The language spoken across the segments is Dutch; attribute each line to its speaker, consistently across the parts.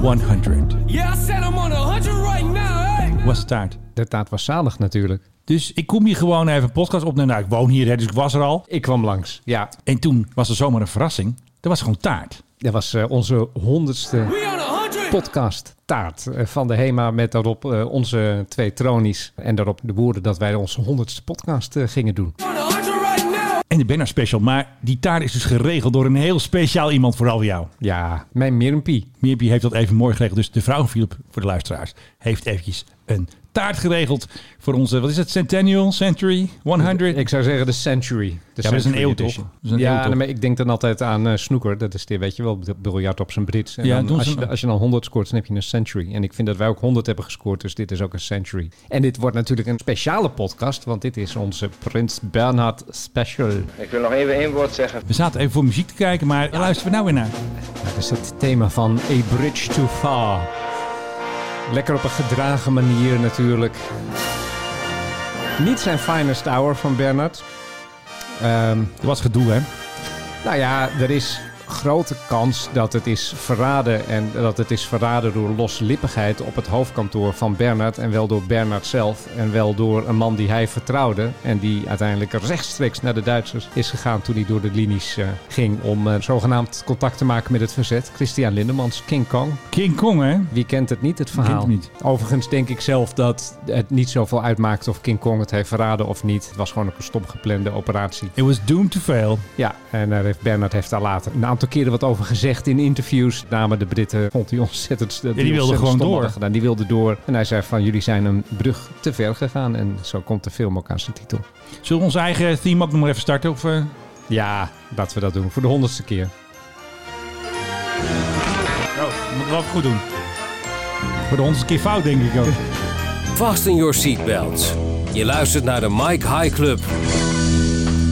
Speaker 1: 100.
Speaker 2: Yeah, I said I'm on 100 right now, hey!
Speaker 1: Was taart.
Speaker 3: De taart was zalig natuurlijk.
Speaker 1: Dus ik kom hier gewoon even een podcast opnemen. Nou, ik woon hier, hè, dus ik was er al.
Speaker 3: Ik kwam langs. Ja,
Speaker 1: En toen was er zomaar een verrassing. Er was gewoon taart.
Speaker 3: dat was eh, onze honderdste
Speaker 2: We on 100!
Speaker 3: podcast taart eh, van de HEMA met daarop eh, onze twee tronies. En daarop de woorden dat wij onze honderdste podcast eh, gingen doen.
Speaker 2: On 100 right now!
Speaker 1: En de Banner Special. Maar die taart is dus geregeld door een heel speciaal iemand, vooral jou.
Speaker 3: Ja, mijn Mirmpie.
Speaker 1: Mirpie heeft dat even mooi geregeld. Dus de vrouw van Philip, voor de luisteraars, heeft eventjes een taart geregeld voor onze, wat is het, Centennial, Century, 100?
Speaker 3: Ik zou zeggen de Century. De
Speaker 1: dat is een
Speaker 3: Century
Speaker 1: eeuw toch?
Speaker 3: Edition.
Speaker 1: Dat is een eeuw
Speaker 3: ja,
Speaker 1: toch?
Speaker 3: nee, maar ik denk dan altijd aan eh snoeker. Dat is, dit, weet je wel, b- biljart op zijn Brits. En
Speaker 1: Ja,
Speaker 3: dan
Speaker 1: doen
Speaker 3: als,
Speaker 1: ze
Speaker 3: je,
Speaker 1: een-
Speaker 3: als je dan 100 scoort, dan heb je een Century. En ik vind dat wij ook 100 hebben gescoord, dus dit is ook een Century. En dit wordt natuurlijk een speciale podcast, want dit is onze Prins Bernhard Special.
Speaker 4: Ik wil nog even één woord zeggen.
Speaker 1: We zaten even voor muziek te kijken, maar daar luisteren we nou weer naar.
Speaker 3: Dat is het thema van A Bridge Too Far. Lekker op een gedragen manier natuurlijk. Niet zijn finest hour van Bernhard. Ehm
Speaker 1: Er was gedoe, hè?
Speaker 3: Nou ja, er is grote kans dat het is verraden en dat het is verraden door loslippigheid op het hoofdkantoor van Bernard en wel door Bernard zelf en wel door een man die hij vertrouwde en die uiteindelijk rechtstreeks naar de Duitsers is gegaan toen hij door de linies eh, ging om eh, zogenaamd contact te maken met het verzet. Christian Lindemans, King Kong.
Speaker 1: King Kong, hè?
Speaker 3: Wie kent het niet, het verhaal?
Speaker 1: Kent het
Speaker 3: Overigens denk ik zelf dat het niet zoveel uitmaakt of King Kong het heeft verraden of niet. Het was gewoon een stom geplande operatie.
Speaker 1: It was doomed to fail.
Speaker 3: Ja, en daar heeft Bernard heeft daar later een aantal keren wat over gezegd in interviews. Namen de Britten vond hij ontzettend. Ja,
Speaker 1: wilden gewoon door.
Speaker 3: Gedaan. Die wilden door. En hij zei van jullie zijn een brug te ver gegaan. En zo komt de film ook aan zijn titel.
Speaker 1: Zullen we ons eigen theme ook nog maar even starten? Of, eh?
Speaker 3: Ja, laten we dat doen. Voor de honderdste keer.
Speaker 1: Oh, we moeten wel even goed doen. Voor de honderdste keer fout, denk ik ook.
Speaker 5: Fasten your seatbelts. Je luistert naar de Mike High Club.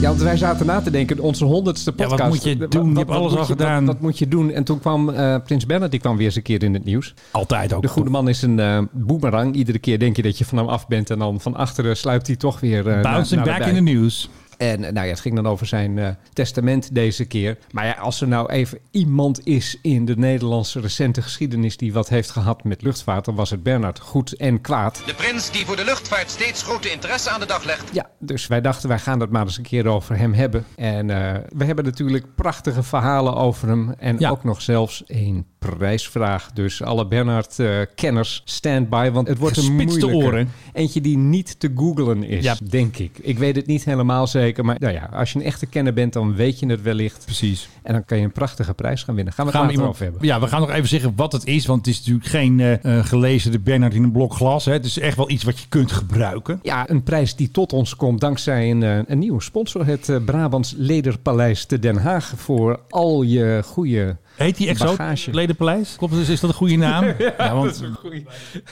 Speaker 3: Ja, want wij zaten na te denken, onze honderdste
Speaker 1: Ja, wat
Speaker 3: podcast.
Speaker 1: moet je doen? Je hebt alles
Speaker 3: moet
Speaker 1: al
Speaker 3: je-
Speaker 1: gedaan.
Speaker 3: Wat, wat moet je doen? En toen kwam eh, Prins Bernard, die kwam weer eens een keer in het nieuws.
Speaker 1: Altijd ook.
Speaker 3: De goede man is een eh boemerang. Iedere keer denk je dat je van hem af bent. En dan van achteren sluipt hij toch weer eh, na-
Speaker 1: Bouncing
Speaker 3: naar de
Speaker 1: back
Speaker 3: dijk.
Speaker 1: in the news.
Speaker 3: En eh, nou ja, het ging dan over zijn eh, testament deze keer. Maar ja, als er nou even iemand is in de Nederlandse recente geschiedenis die wat heeft gehad met luchtvaart, dan was het Bernard goed en kwaad.
Speaker 4: De prins die voor de luchtvaart steeds grote interesse aan de dag legt.
Speaker 3: Ja, dus wij dachten, wij gaan het maar eens een keer over hem hebben. En eh, we hebben natuurlijk prachtige verhalen over hem. En
Speaker 1: Ja.
Speaker 3: ook nog zelfs een prijsvraag. Dus alle Bernard-kenners, stand by. Want het wordt een
Speaker 1: Gespitste
Speaker 3: moeilijke.
Speaker 1: oren.
Speaker 3: Eentje die niet te googlen is,
Speaker 1: Ja.
Speaker 3: denk ik. Ik weet het niet helemaal zeker. Maar nou ja, als je een echte kenner bent, dan weet je het wellicht.
Speaker 1: Precies.
Speaker 3: En dan kan je een prachtige prijs gaan winnen. Gaan we het
Speaker 1: Gaan we
Speaker 3: later
Speaker 1: iemand,
Speaker 3: over hebben.
Speaker 1: ja, we gaan nog even zeggen wat het is. Want het is natuurlijk geen eh, eh, gelezen de Bernard in een blok glas. Hè. Het is echt wel iets wat je kunt gebruiken.
Speaker 3: Ja, een prijs die tot ons komt dankzij een, eh, een nieuwe sponsor. Het eh, Brabants Lederpaleis te Den Haag. Voor al je goede...
Speaker 1: Heet die echt zo?
Speaker 3: Bagage.
Speaker 1: Ledenpaleis? Klopt, dus is dat een goede naam? ja, want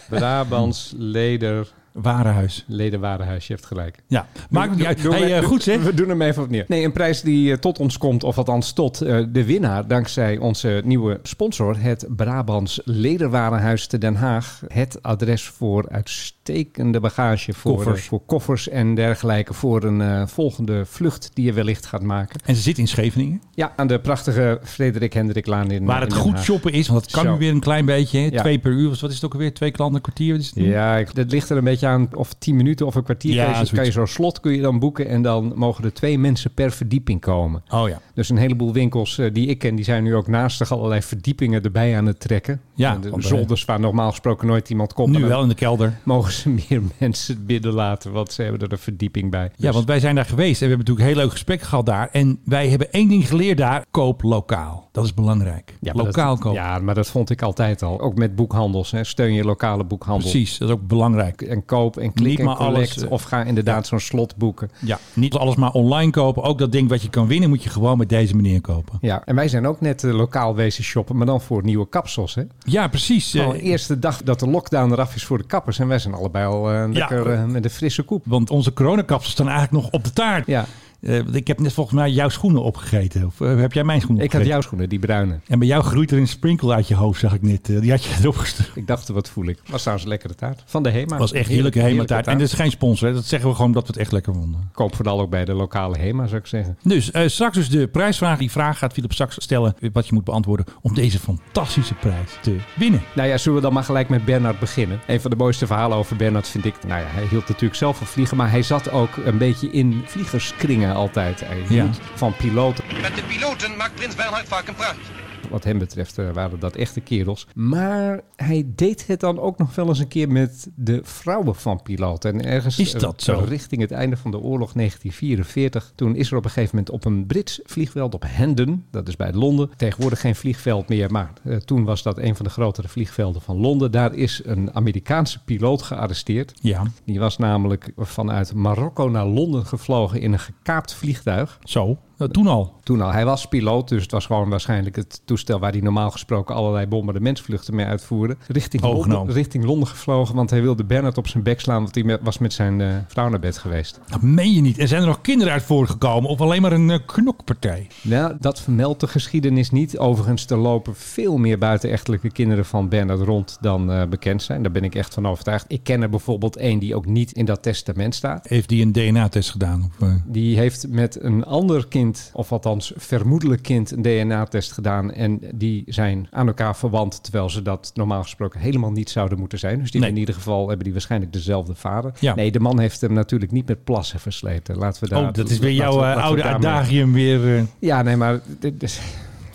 Speaker 3: Brabants Leder...
Speaker 1: Warenhuis.
Speaker 3: Ledenwarenhuis, je hebt gelijk.
Speaker 1: Ja, maakt het niet uit.
Speaker 3: Doe-
Speaker 1: Hey,
Speaker 3: doe-
Speaker 1: eh,
Speaker 3: doe-
Speaker 1: goed zeg.
Speaker 3: We doen hem even opnieuw. Nee, een prijs die eh, tot ons komt, of althans tot eh, de winnaar, dankzij onze nieuwe sponsor, het Brabants Lederwarenhuis te Den Haag. Het adres voor uitstekende bagage, voor eh,
Speaker 1: Koffers.
Speaker 3: voor koffers en dergelijke, voor een eh, volgende vlucht die je wellicht gaat maken.
Speaker 1: En ze zit in Scheveningen.
Speaker 3: Ja, aan de prachtige Frederik Hendriklaan in
Speaker 1: Waar
Speaker 3: in
Speaker 1: het
Speaker 3: Den
Speaker 1: goed
Speaker 3: Haag.
Speaker 1: shoppen is, want dat kan
Speaker 3: Zo.
Speaker 1: nu weer een klein beetje. hè.
Speaker 3: Ja.
Speaker 1: Twee per uur, was- wat is het ook alweer? Twee klanten, een kwartier? Wat is het nu?
Speaker 3: Ja, ik- dat ligt er een beetje aan of 10 minuten of een kwartier.
Speaker 1: Ja,
Speaker 3: kan, je, zo- kan je
Speaker 1: zoiets.
Speaker 3: zo'n slot kun je dan boeken en dan mogen er twee mensen per verdieping komen.
Speaker 1: Oh ja.
Speaker 3: Dus een heleboel winkels eh, die ik ken, die zijn nu ook naast zich allerlei verdiepingen erbij aan het trekken.
Speaker 1: Ja,
Speaker 3: En de
Speaker 1: want, eh,
Speaker 3: zolders waar normaal gesproken nooit iemand komt.
Speaker 1: Nu
Speaker 3: maar dan
Speaker 1: wel in de kelder.
Speaker 3: Mogen ze meer mensen binnen laten, want ze hebben er een verdieping bij. Dus-
Speaker 1: Ja, want wij zijn daar geweest en we hebben natuurlijk een heel leuk gesprek gehad daar. En wij hebben één ding geleerd daar. Koop lokaal. Dat is belangrijk.
Speaker 3: Ja, maar
Speaker 1: lokaal
Speaker 3: dat,
Speaker 1: kopen.
Speaker 3: Ja, maar dat vond ik altijd al. Ook met boekhandels. Hè. Steun je lokale boekhandel.
Speaker 1: Precies, dat is ook belangrijk.
Speaker 3: En koop en klik
Speaker 1: Niet
Speaker 3: en
Speaker 1: maar alles,
Speaker 3: collect.
Speaker 1: eh,
Speaker 3: of ga inderdaad zo'n slot boeken.
Speaker 1: Ja, niet alles maar online kopen. Ook dat ding wat je kan winnen, moet je gewoon met deze manier kopen.
Speaker 3: Ja, en wij zijn ook net eh, lokaal wezen shoppen, maar dan voor nieuwe kapsels. Hè?
Speaker 1: Ja, precies.
Speaker 3: Gewoon
Speaker 1: Eh,
Speaker 3: de eerste dag dat de lockdown eraf is voor de kappers. En wij zijn allebei al eh, lekker eh, met een frisse koep.
Speaker 1: Want onze coronakapsels staan eigenlijk nog op de taart.
Speaker 3: Ja,
Speaker 1: Eh, want ik heb net volgens mij jouw schoenen opgegeten. Of eh, heb jij mijn schoenen
Speaker 3: Ik had
Speaker 1: opgegeten?
Speaker 3: jouw schoenen, die bruine.
Speaker 1: En bij jou groeit er een sprinkel uit je hoofd, zag ik net. Eh, die had je erop gestuurd.
Speaker 3: Ik dacht, wat voel ik. Was trouwens een lekkere taart. Van de Hema.
Speaker 1: was echt heerlijke hemataart. En dat is geen sponsor. hè. Dat zeggen we gewoon omdat we het echt lekker vonden.
Speaker 3: Koop vooral ook bij de lokale Hema, zou ik zeggen.
Speaker 1: Dus eh, straks dus de prijsvraag. Die vraag gaat Philip straks stellen. eh, Wat je moet beantwoorden om deze fantastische prijs te winnen.
Speaker 3: Nou ja, zullen we dan maar gelijk met Bernard beginnen? Een van de mooiste verhalen over Bernard vind ik... Nou ja, hij hield natuurlijk zelf van vliegen, maar hij zat ook een beetje in vliegerskringen altijd. Hij hield van piloten.
Speaker 4: Met de piloten maakt prins Bernhard vaak een praatje.
Speaker 3: Wat hem betreft eh, waren dat echte kerels. Maar hij deed het dan ook nog wel eens een keer met de vrouwen van piloten. En ergens
Speaker 1: Is
Speaker 3: eh,
Speaker 1: dat zo?
Speaker 3: richting het einde van de oorlog 1944... toen is er op een gegeven moment op een Brits vliegveld op Hendon... dat is bij Londen, tegenwoordig geen vliegveld meer... maar eh, toen was dat een van de grotere vliegvelden van Londen. Daar is een Amerikaanse piloot gearresteerd.
Speaker 1: Ja,
Speaker 3: Die was namelijk vanuit Marokko naar Londen gevlogen in een gekaapt vliegtuig.
Speaker 1: zo. Nou, toen al.
Speaker 3: Toen al. Hij was piloot, dus het was gewoon waarschijnlijk het toestel waar hij normaal gesproken allerlei bombardementsvluchten mee uitvoerde. Richting
Speaker 1: Oognoom.
Speaker 3: Londen, richting Londen gevlogen, want hij wilde Bernard op zijn bek slaan, want hij me- was met zijn eh, vrouw naar bed geweest.
Speaker 1: Dat meen je niet. En zijn er nog kinderen uit voortgekomen? Of alleen maar een eh, knokpartij?
Speaker 3: Nou, dat vermeldt de geschiedenis niet. Overigens, er lopen veel meer buitenechtelijke kinderen van Bernard rond dan eh, bekend zijn. Daar ben ik echt van overtuigd. Ik ken er bijvoorbeeld één die ook niet in dat testament staat.
Speaker 1: Heeft die een DNA-test gedaan? Of, eh,
Speaker 3: Die heeft met een ander kind, of althans vermoedelijk kind, een DNA-test gedaan. En die zijn aan elkaar verwant, terwijl ze dat normaal gesproken helemaal niet zouden moeten zijn. Dus die
Speaker 1: Nee.
Speaker 3: in ieder geval hebben die waarschijnlijk dezelfde vader.
Speaker 1: Ja.
Speaker 3: Nee, de man heeft hem natuurlijk niet met plassen versleept. hè. Laten we daar,
Speaker 1: oh, dat is weer jouw
Speaker 3: laten we-
Speaker 1: eh,
Speaker 3: laten we
Speaker 1: oude
Speaker 3: daarmee-
Speaker 1: adagium weer. eh,
Speaker 3: Ja, nee, maar dit is-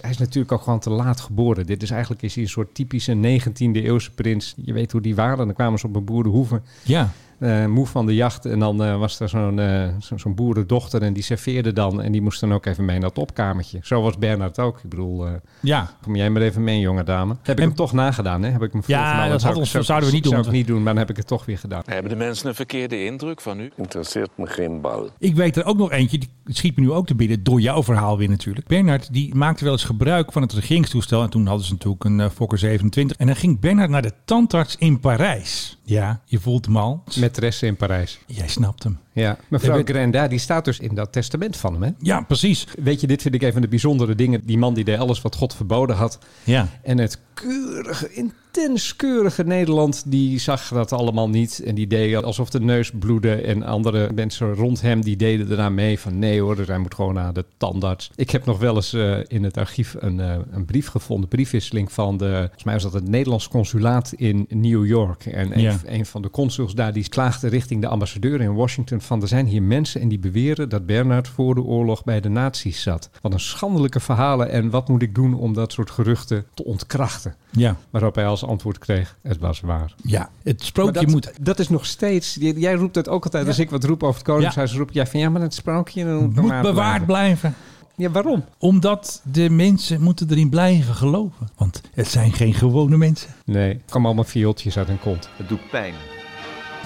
Speaker 3: hij is natuurlijk ook gewoon te laat geboren. Dit is eigenlijk is hij een soort typische 19e eeuwse prins. Je weet hoe die waren. Dan kwamen ze op een boerenhoeve
Speaker 1: ja.
Speaker 3: eh, moe van de jacht. En dan eh, was er zo'n eh, zo- zo'n boerendochter en die serveerde dan. En die moest dan ook even mee naar het opkamertje. Zo was Bernard ook. Ik bedoel, eh,
Speaker 1: Ja.
Speaker 3: kom jij maar even mee, jonge dame. Heb ik
Speaker 1: En-
Speaker 3: hem toch nagedaan, hè? Heb ik hem
Speaker 1: Ja,
Speaker 3: voorgenomen.
Speaker 1: dat
Speaker 3: zou
Speaker 1: had
Speaker 3: ik-
Speaker 1: ons-
Speaker 3: zou-
Speaker 1: zouden we niet doen,
Speaker 3: Zou ik
Speaker 1: want we-
Speaker 3: niet doen, maar dan heb ik het toch weer gedaan.
Speaker 6: Hebben de mensen een verkeerde indruk van u?
Speaker 7: Interesseert me geen bal.
Speaker 1: Ik weet er ook nog eentje, die schiet me nu ook te binnen, door jouw verhaal weer natuurlijk. Bernard, die maakte wel eens gebruik van het regeringstoestel. En toen hadden ze natuurlijk een eh, Fokker 27. En dan ging Bernard naar de tandarts in Parijs. Ja, je voelt hem al.
Speaker 3: Met Teresse in Parijs.
Speaker 1: Jij snapt hem.
Speaker 3: Ja. Mevrouw
Speaker 1: Ja, weet-
Speaker 3: Grenda, die staat dus in dat testament van hem, hè?
Speaker 1: Ja, precies.
Speaker 3: Weet je, dit vind ik een van de bijzondere dingen. Die man die deed alles wat God verboden had.
Speaker 1: Ja.
Speaker 3: En het keurige, intens keurige Nederland, die zag dat allemaal niet. En die deed alsof de neus bloedde. En andere mensen rond hem, die deden daarna mee van nee hoor, dus hij moet gewoon naar de tandarts. Ik heb nog wel eens eh, in het archief een, eh, een brief gevonden, briefwisseling van de, volgens mij was dat het Nederlands consulaat in New York. En een,
Speaker 1: Ja.
Speaker 3: een van de consuls daar, die klaagde richting de ambassadeur in Washington van er zijn hier mensen en die beweren dat Bernard voor de oorlog bij de nazi's zat. Wat een schandelijke verhalen en wat moet ik doen om dat soort geruchten te ontkrachten?
Speaker 1: Ja.
Speaker 3: Waarop hij als antwoord kreeg, het was waar.
Speaker 1: Ja. Het
Speaker 3: Maar
Speaker 1: sprookje
Speaker 3: dat,
Speaker 1: moet...
Speaker 3: dat is nog steeds, j- jij roept dat ook altijd. Als ik wat roep over het Koningshuis, roep jij van ja, maar dat sprookje dan het
Speaker 1: Moet
Speaker 3: bewaard
Speaker 1: bewaard
Speaker 3: blijven.
Speaker 1: blijven.
Speaker 3: Ja, waarom?
Speaker 1: Omdat de mensen moeten erin blijven geloven. Want het zijn geen gewone mensen.
Speaker 3: Nee, het kwam allemaal viooltjes uit hun kont.
Speaker 8: Het doet pijn.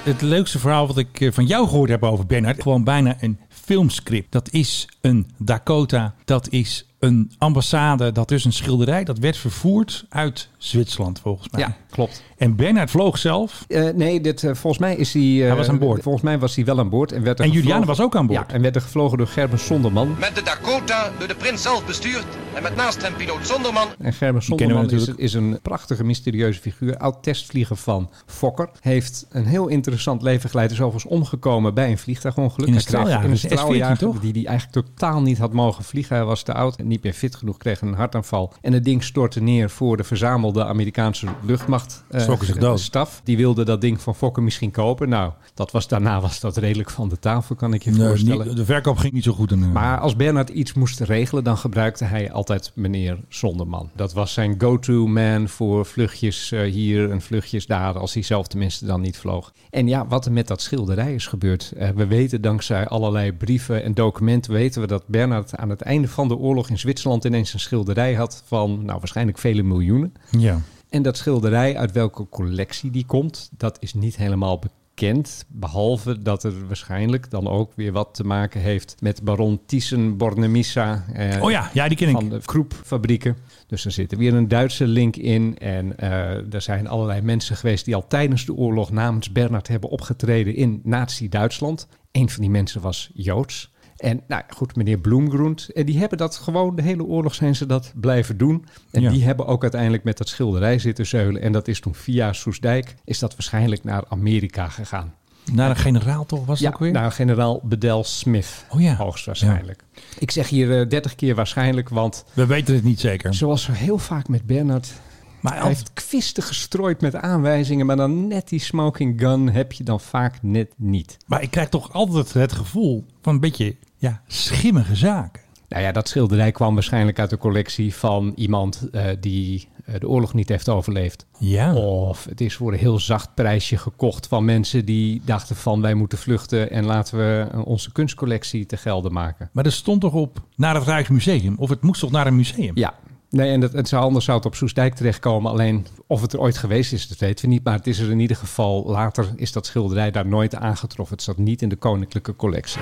Speaker 1: Het leukste verhaal wat ik eh, van jou gehoord heb over Bernard, gewoon bijna een filmscript. Dat is een Dakota, dat is een ambassade, dat is een schilderij. Dat werd vervoerd uit Zwitserland volgens mij.
Speaker 3: Ja, klopt.
Speaker 1: En Bernard vloog zelf.
Speaker 3: Eh, nee, dit, eh, volgens mij is hij... eh,
Speaker 1: Hij was aan boord.
Speaker 3: Volgens mij was hij wel aan boord. En, werd er
Speaker 1: En Juliane
Speaker 3: gevlogen-
Speaker 1: was ook aan boord.
Speaker 3: Ja, en werd er gevlogen door Gerben Sonderman.
Speaker 4: Met de Dakota, door de prins zelf bestuurd en met naast hem piloot Zonderman.
Speaker 3: En Gerben
Speaker 1: kennen we
Speaker 3: Sonderman is,
Speaker 1: natuurlijk.
Speaker 3: is een prachtige, mysterieuze figuur. Oud-testvlieger van Fokker. Heeft een heel interessant leven geleid. Is overigens omgekomen bij een vliegtuigongeluk.
Speaker 1: In een
Speaker 3: Hij kreeg-
Speaker 1: straaljager,
Speaker 3: In een
Speaker 1: dus een S14
Speaker 3: straaljager,
Speaker 1: toch?
Speaker 3: die hij eigenlijk totaal niet had mogen vliegen. Hij was te oud en niet meer fit genoeg. Kreeg een hartaanval. En het ding stortte neer voor de verzamelde Amerikaanse luchtmacht. eh,
Speaker 1: Schrokken zich dood.
Speaker 3: Staf. Die wilde dat ding van Fokker misschien kopen. Nou, dat was, daarna was dat redelijk van de tafel, kan ik je
Speaker 1: Nee,
Speaker 3: voorstellen.
Speaker 1: niet- de verkoop ging niet zo goed. En, eh,
Speaker 3: Maar als Bernard iets moest regelen, dan gebruikte hij altijd meneer Zonderman. Dat was zijn go-to-man voor vluchtjes eh, hier en vluchtjes daar, als hij zelf tenminste dan niet vloog. En ja, wat er met dat schilderij is gebeurd. eh, we weten dankzij allerlei brieven en documenten, weten we dat Bernard aan het einde van de oorlog in Zwitserland ineens een schilderij had van, nou waarschijnlijk vele miljoenen.
Speaker 1: ja.
Speaker 3: En dat schilderij, uit welke collectie die komt, dat is niet helemaal bekend. Behalve dat er waarschijnlijk dan ook weer wat te maken heeft met baron Thyssen Bornemissa. eh,
Speaker 1: Oh ja, ja, die ken ik.
Speaker 3: Van de Kroep-fabrieken. Dus er zit weer een Duitse link in. En eh, er zijn allerlei mensen geweest die al tijdens de oorlog namens Bernard hebben opgetreden in Nazi-Duitsland. Een van die mensen was Joods. En nou ja, goed, meneer Bloemgroent. En die hebben dat gewoon, de hele oorlog zijn ze dat blijven doen. En
Speaker 1: Ja.
Speaker 3: die hebben ook uiteindelijk met dat schilderij zitten zeulen. En dat is toen via Soesdijk, is dat waarschijnlijk naar Amerika gegaan.
Speaker 1: Naar een generaal toch was het
Speaker 3: Ja, nou-
Speaker 1: ook weer?
Speaker 3: naar generaal Bedell Smith,
Speaker 1: Oh ja.
Speaker 3: hoogstwaarschijnlijk. Ik zeg hier eh 30 keer waarschijnlijk, want
Speaker 1: We weten het niet zeker.
Speaker 3: zoals zo heel vaak met Bernard...
Speaker 1: Maar
Speaker 3: Hij heeft kwisten gestrooid met aanwijzingen, maar dan net die smoking gun heb je dan vaak net niet.
Speaker 1: Maar ik krijg toch altijd het gevoel van een beetje ja, schimmige zaken.
Speaker 3: Nou ja, dat schilderij kwam waarschijnlijk uit de collectie van iemand eh, die eh, de oorlog niet heeft overleefd.
Speaker 1: Ja.
Speaker 3: Of het is voor een heel zacht prijsje gekocht van mensen die dachten van wij moeten vluchten en laten we eh, onze kunstcollectie te gelden maken.
Speaker 1: Maar er stond toch op naar het Rijksmuseum? Of het moest toch naar een museum?
Speaker 3: Ja. Nee, en dat, het zou anders zou het op Soestdijk terechtkomen. Alleen of het er ooit geweest is, dat weten we niet. Maar het is er in ieder geval later is dat schilderij daar nooit aangetroffen. Het zat niet in de koninklijke collectie.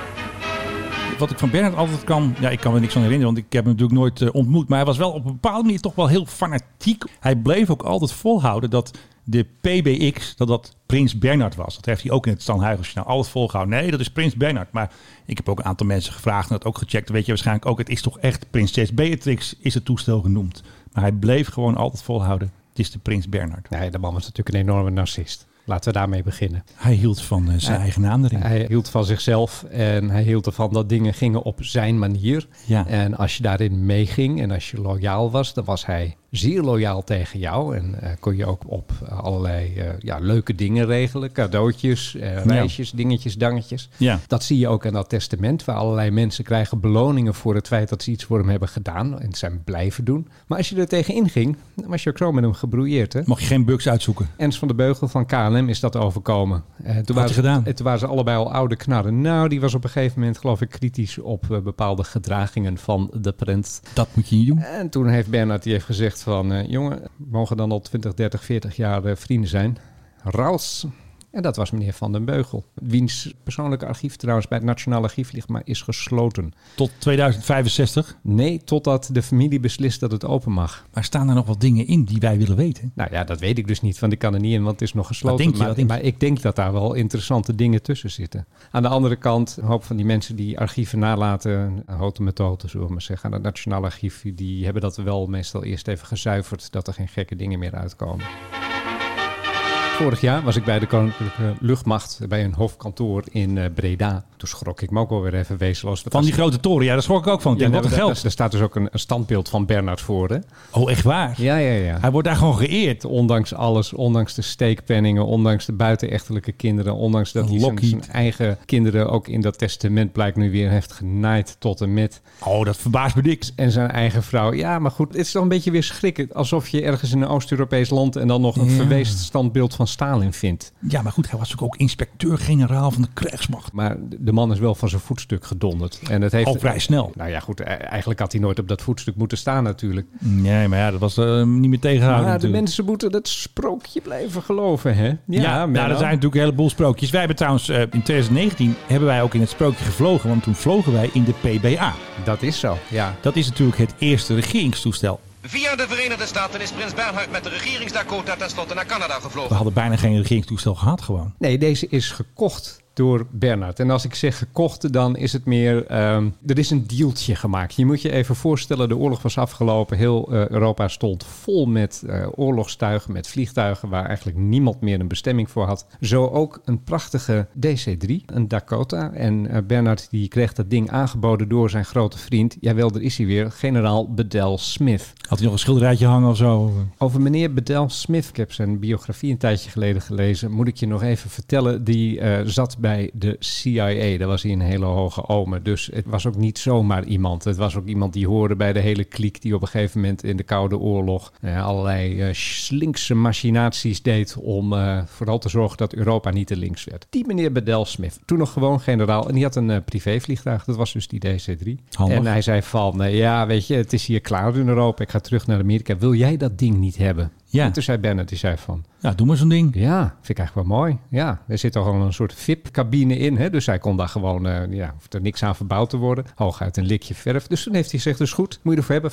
Speaker 1: Wat ik van Bernhard altijd kan... Ja, ik kan me niks aan herinneren, want ik heb hem natuurlijk nooit eh, ontmoet. Maar hij was wel op een bepaalde manier toch wel heel fanatiek. Hij bleef ook altijd volhouden dat de PBX, dat dat Prins Bernhard was. Dat heeft hij ook in het Stanhuigersjournaal altijd volgehouden. Nee, dat is Prins Bernhard. Maar ik heb ook een aantal mensen gevraagd en dat ook gecheckt. Dan Weet je waarschijnlijk ook, het is toch echt Prinses Beatrix is het toestel genoemd. Maar hij bleef gewoon altijd volhouden. Het is de Prins Bernhard.
Speaker 3: Nee, de man was natuurlijk een enorme narcist. Laten we daarmee beginnen.
Speaker 1: Hij hield van eh, zijn eigen naam erin.
Speaker 3: Hij hield van zichzelf en hij hield ervan dat dingen gingen op zijn manier.
Speaker 1: Ja.
Speaker 3: En als je daarin meeging en als je loyaal was, dan was hij zeer loyaal tegen jou. En eh, kon je ook op allerlei eh, ja, leuke dingen regelen. Cadeautjes, eh, reisjes, dingetjes, dangetjes.
Speaker 1: Ja.
Speaker 3: Dat zie je ook aan dat testament, waar allerlei mensen krijgen beloningen voor het feit dat ze iets voor hem hebben gedaan en zijn blijven doen. Maar als je er tegen inging, dan was je ook zo met hem gebroeierd. Hè?
Speaker 1: Mag je geen bugs uitzoeken?
Speaker 3: Ernst van de Beugel van KLM is dat overkomen. Eh, toen, waren
Speaker 1: hij
Speaker 3: ze-
Speaker 1: gedaan?
Speaker 3: eh, toen waren ze allebei al oude knarren. Nou, die was op een gegeven moment, geloof ik, kritisch op eh, bepaalde gedragingen van de prins.
Speaker 1: Dat moet je niet doen.
Speaker 3: En toen heeft Bernard die heeft gezegd van... eh, jongen, we mogen dan al 20, 30, 40 jaar eh, vrienden zijn. Raus. En dat was meneer Van den Beugel. Wiens persoonlijke archief trouwens bij het Nationaal Archief ligt, maar is gesloten.
Speaker 1: Tot 2065.
Speaker 3: Nee, totdat de familie beslist dat het open mag.
Speaker 1: Maar staan er nog wat dingen in die wij willen weten?
Speaker 3: Nou ja, dat weet ik dus niet, want ik kan er niet in, want het is nog gesloten.
Speaker 1: Wat denk je,
Speaker 3: maar,
Speaker 1: wat denk je?
Speaker 3: maar ik denk dat daar wel interessante dingen tussen zitten. Aan de andere kant, een hoop van die mensen die archieven nalaten, houten methoden, zullen we maar zeggen, aan het Nationaal Archief, die hebben dat wel meestal eerst even gezuiverd, dat er geen gekke dingen meer uitkomen. Vorig jaar was ik bij de Koninklijke Luchtmacht bij een hoofdkantoor in eh, Breda. Toen schrok ik me ook alweer even wezenloos.
Speaker 1: Van die grote toren, ja, daar schrok ik ook van. Ik
Speaker 3: ja,
Speaker 1: denk,
Speaker 3: daar-
Speaker 1: wat een
Speaker 3: daar-
Speaker 1: geld.
Speaker 3: Daar staat dus ook een, een standbeeld van Bernard voor. Hè?
Speaker 1: Oh, echt waar?
Speaker 3: Ja, ja, ja.
Speaker 1: Hij wordt daar gewoon geëerd.
Speaker 3: Ondanks alles, ondanks de steekpenningen, ondanks de buitenechtelijke kinderen, ondanks dat hij zijn,
Speaker 1: Lockheed.
Speaker 3: zijn eigen kinderen ook in dat testament blijkt nu weer heeft genaaid tot en met.
Speaker 1: Oh, dat verbaast me niks.
Speaker 3: En zijn eigen vrouw. Ja, maar goed, het is toch een beetje weer schrikken. Alsof je ergens in een Oost-Europees land en dan nog een
Speaker 1: Ja.
Speaker 3: verweest standbeeld van Stalin vindt.
Speaker 1: Ja, maar goed, hij was ook, ook inspecteur-generaal van de krijgsmacht.
Speaker 3: Maar de man is wel van zijn voetstuk gedonderd. En het heeft...
Speaker 1: Al vrij snel.
Speaker 3: Nou ja, goed, e- eigenlijk had hij nooit op dat voetstuk moeten staan natuurlijk.
Speaker 1: Nee, maar ja, dat was eh, niet meer tegenhouden
Speaker 3: Maar de
Speaker 1: natuurlijk.
Speaker 3: mensen moeten dat sprookje blijven geloven, hè? Ja,
Speaker 1: Ja, nou,
Speaker 3: Menno.
Speaker 1: er zijn natuurlijk een heleboel sprookjes. Wij hebben trouwens, eh, in 2019 hebben wij ook in het sprookje gevlogen. Want toen vlogen wij in de PBA.
Speaker 3: dat is zo, ja.
Speaker 1: Dat is natuurlijk het eerste regeringstoestel.
Speaker 4: Via de Verenigde Staten is prins Bernhard met de regeringsdakota tenslotte naar Canada
Speaker 1: We
Speaker 4: gevlogen.
Speaker 1: hadden bijna geen regeringstoestel gehad gewoon.
Speaker 3: Nee, deze is gekocht door Bernard. En als ik zeg gekocht, dan is het meer... ehm, er is een dealtje gemaakt. Je moet je even voorstellen, de oorlog was afgelopen. Heel eh, Europa stond vol met eh, oorlogstuigen, met vliegtuigen... waar eigenlijk niemand meer een bestemming voor had. Zo ook een prachtige DC-3, een Dakota. En eh, Bernard die kreeg dat ding aangeboden door zijn grote vriend. Jawel, daar is hij weer, generaal Bedell Smith.
Speaker 1: Had hij nog een schilderijtje hangen of zo?
Speaker 3: Over meneer Bedell Smith, ik heb zijn biografie een tijdje geleden gelezen, moet ik je nog even vertellen. Die eh, zat bij de CIA, daar was hij een hele hoge omer. Dus het was ook niet zomaar iemand. Het was ook iemand die hoorde bij de hele kliek die op een gegeven moment in de Koude Oorlog eh, allerlei eh slinkse machinaties deed om eh, vooral te zorgen dat Europa niet te links werd. Die meneer Bedell Smith, toen nog gewoon generaal en die had een eh, privévliegtuig, dat was dus die DC-3.
Speaker 1: Handig.
Speaker 3: En hij zei van, eh, ja weet je, het is hier klaar in Europa, ik ga terug naar Amerika. Wil jij dat ding niet hebben?
Speaker 1: Ja.
Speaker 3: En toen zei Bennett, die zei van,
Speaker 1: Ja, doe maar zo'n ding.
Speaker 3: ja, vind ik eigenlijk wel mooi. Ja, er zit toch al een soort VIP-cabine in. Hè? Dus hij kon daar gewoon, eh ja, hoeft er niks aan verbouwd te worden. Hooguit een likje verf. Dus toen heeft hij gezegd, dus goed, moet je ervoor hebben,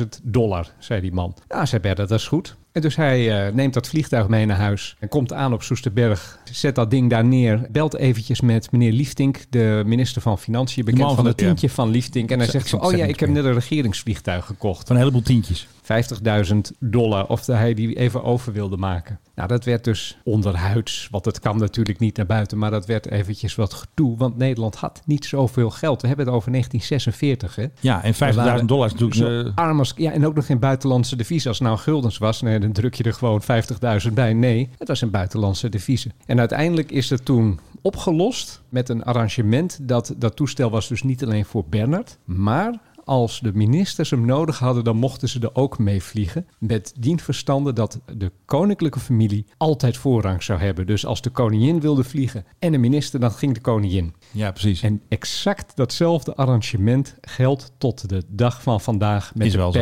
Speaker 3: 50.000 dollar, zei die man. Ja, zei Bernard, dat is goed. En En dus hij eh, neemt dat vliegtuig mee naar huis en komt aan op Soesterberg. Zet dat ding daar neer. Belt eventjes met meneer Liefdink, de minister van Financiën, bekend
Speaker 1: man
Speaker 3: van,
Speaker 1: van
Speaker 3: het
Speaker 1: het- ja.
Speaker 3: tientje van Liefdink. En hij
Speaker 1: Zeg-
Speaker 3: zegt van,
Speaker 1: zeg
Speaker 3: oh ja,
Speaker 1: niks
Speaker 3: ik heb
Speaker 1: meer.
Speaker 3: net een regeringsvliegtuig gekocht.
Speaker 1: Van een heleboel tientjes.
Speaker 3: 50.000 dollar of dat hij die even over wilde maken. Nou, dat werd dus onderhuids, want het kwam natuurlijk niet naar buiten, maar dat werd eventjes wat gedoe, want Nederland had niet zoveel geld. We hebben het over 1946, hè?
Speaker 1: Ja, en 50.000 dollar is natuurlijk...
Speaker 3: Zo
Speaker 1: eh,
Speaker 3: arm als- ja, en ook nog geen buitenlandse devies. Als het nou guldens was, nee, dan druk je er gewoon 50.000 bij. Nee, het was een buitenlandse devise. En uiteindelijk is het toen opgelost met een arrangement dat dat toestel was dus niet alleen voor Bernard, maar als de ministers hem nodig hadden, dan mochten ze er ook mee vliegen. Met dien verstande dat de koninklijke familie altijd voorrang zou hebben. Dus als de koningin wilde vliegen en de minister, dan ging de koningin.
Speaker 1: ja, precies.
Speaker 3: En exact datzelfde arrangement geldt tot de dag van vandaag met
Speaker 1: Is
Speaker 3: de
Speaker 1: wel zo.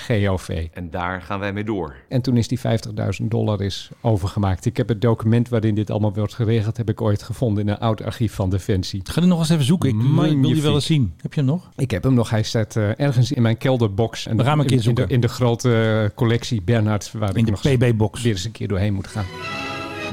Speaker 3: PHGOV.
Speaker 7: En daar gaan wij mee door.
Speaker 3: En toen is die 50.000 dollar is overgemaakt. Ik heb het document waarin dit allemaal wordt geregeld, heb ik ooit gevonden in een oud archief van Defensie.
Speaker 1: Ga die nog eens even zoeken. Ik wil- wil die
Speaker 3: Magnifiek.
Speaker 1: wel eens zien. Heb je hem nog?
Speaker 3: Ik heb hem nog, hij staat eh, ergens in mijn kelderbox. En
Speaker 1: We gaan hem een keer
Speaker 3: in- in, de,
Speaker 1: zoeken.
Speaker 3: in de grote eh, collectie Bernhard, waar
Speaker 1: In
Speaker 3: ik
Speaker 1: de
Speaker 3: nog eens
Speaker 1: PB-box.
Speaker 3: weer eens een keer doorheen moet gaan.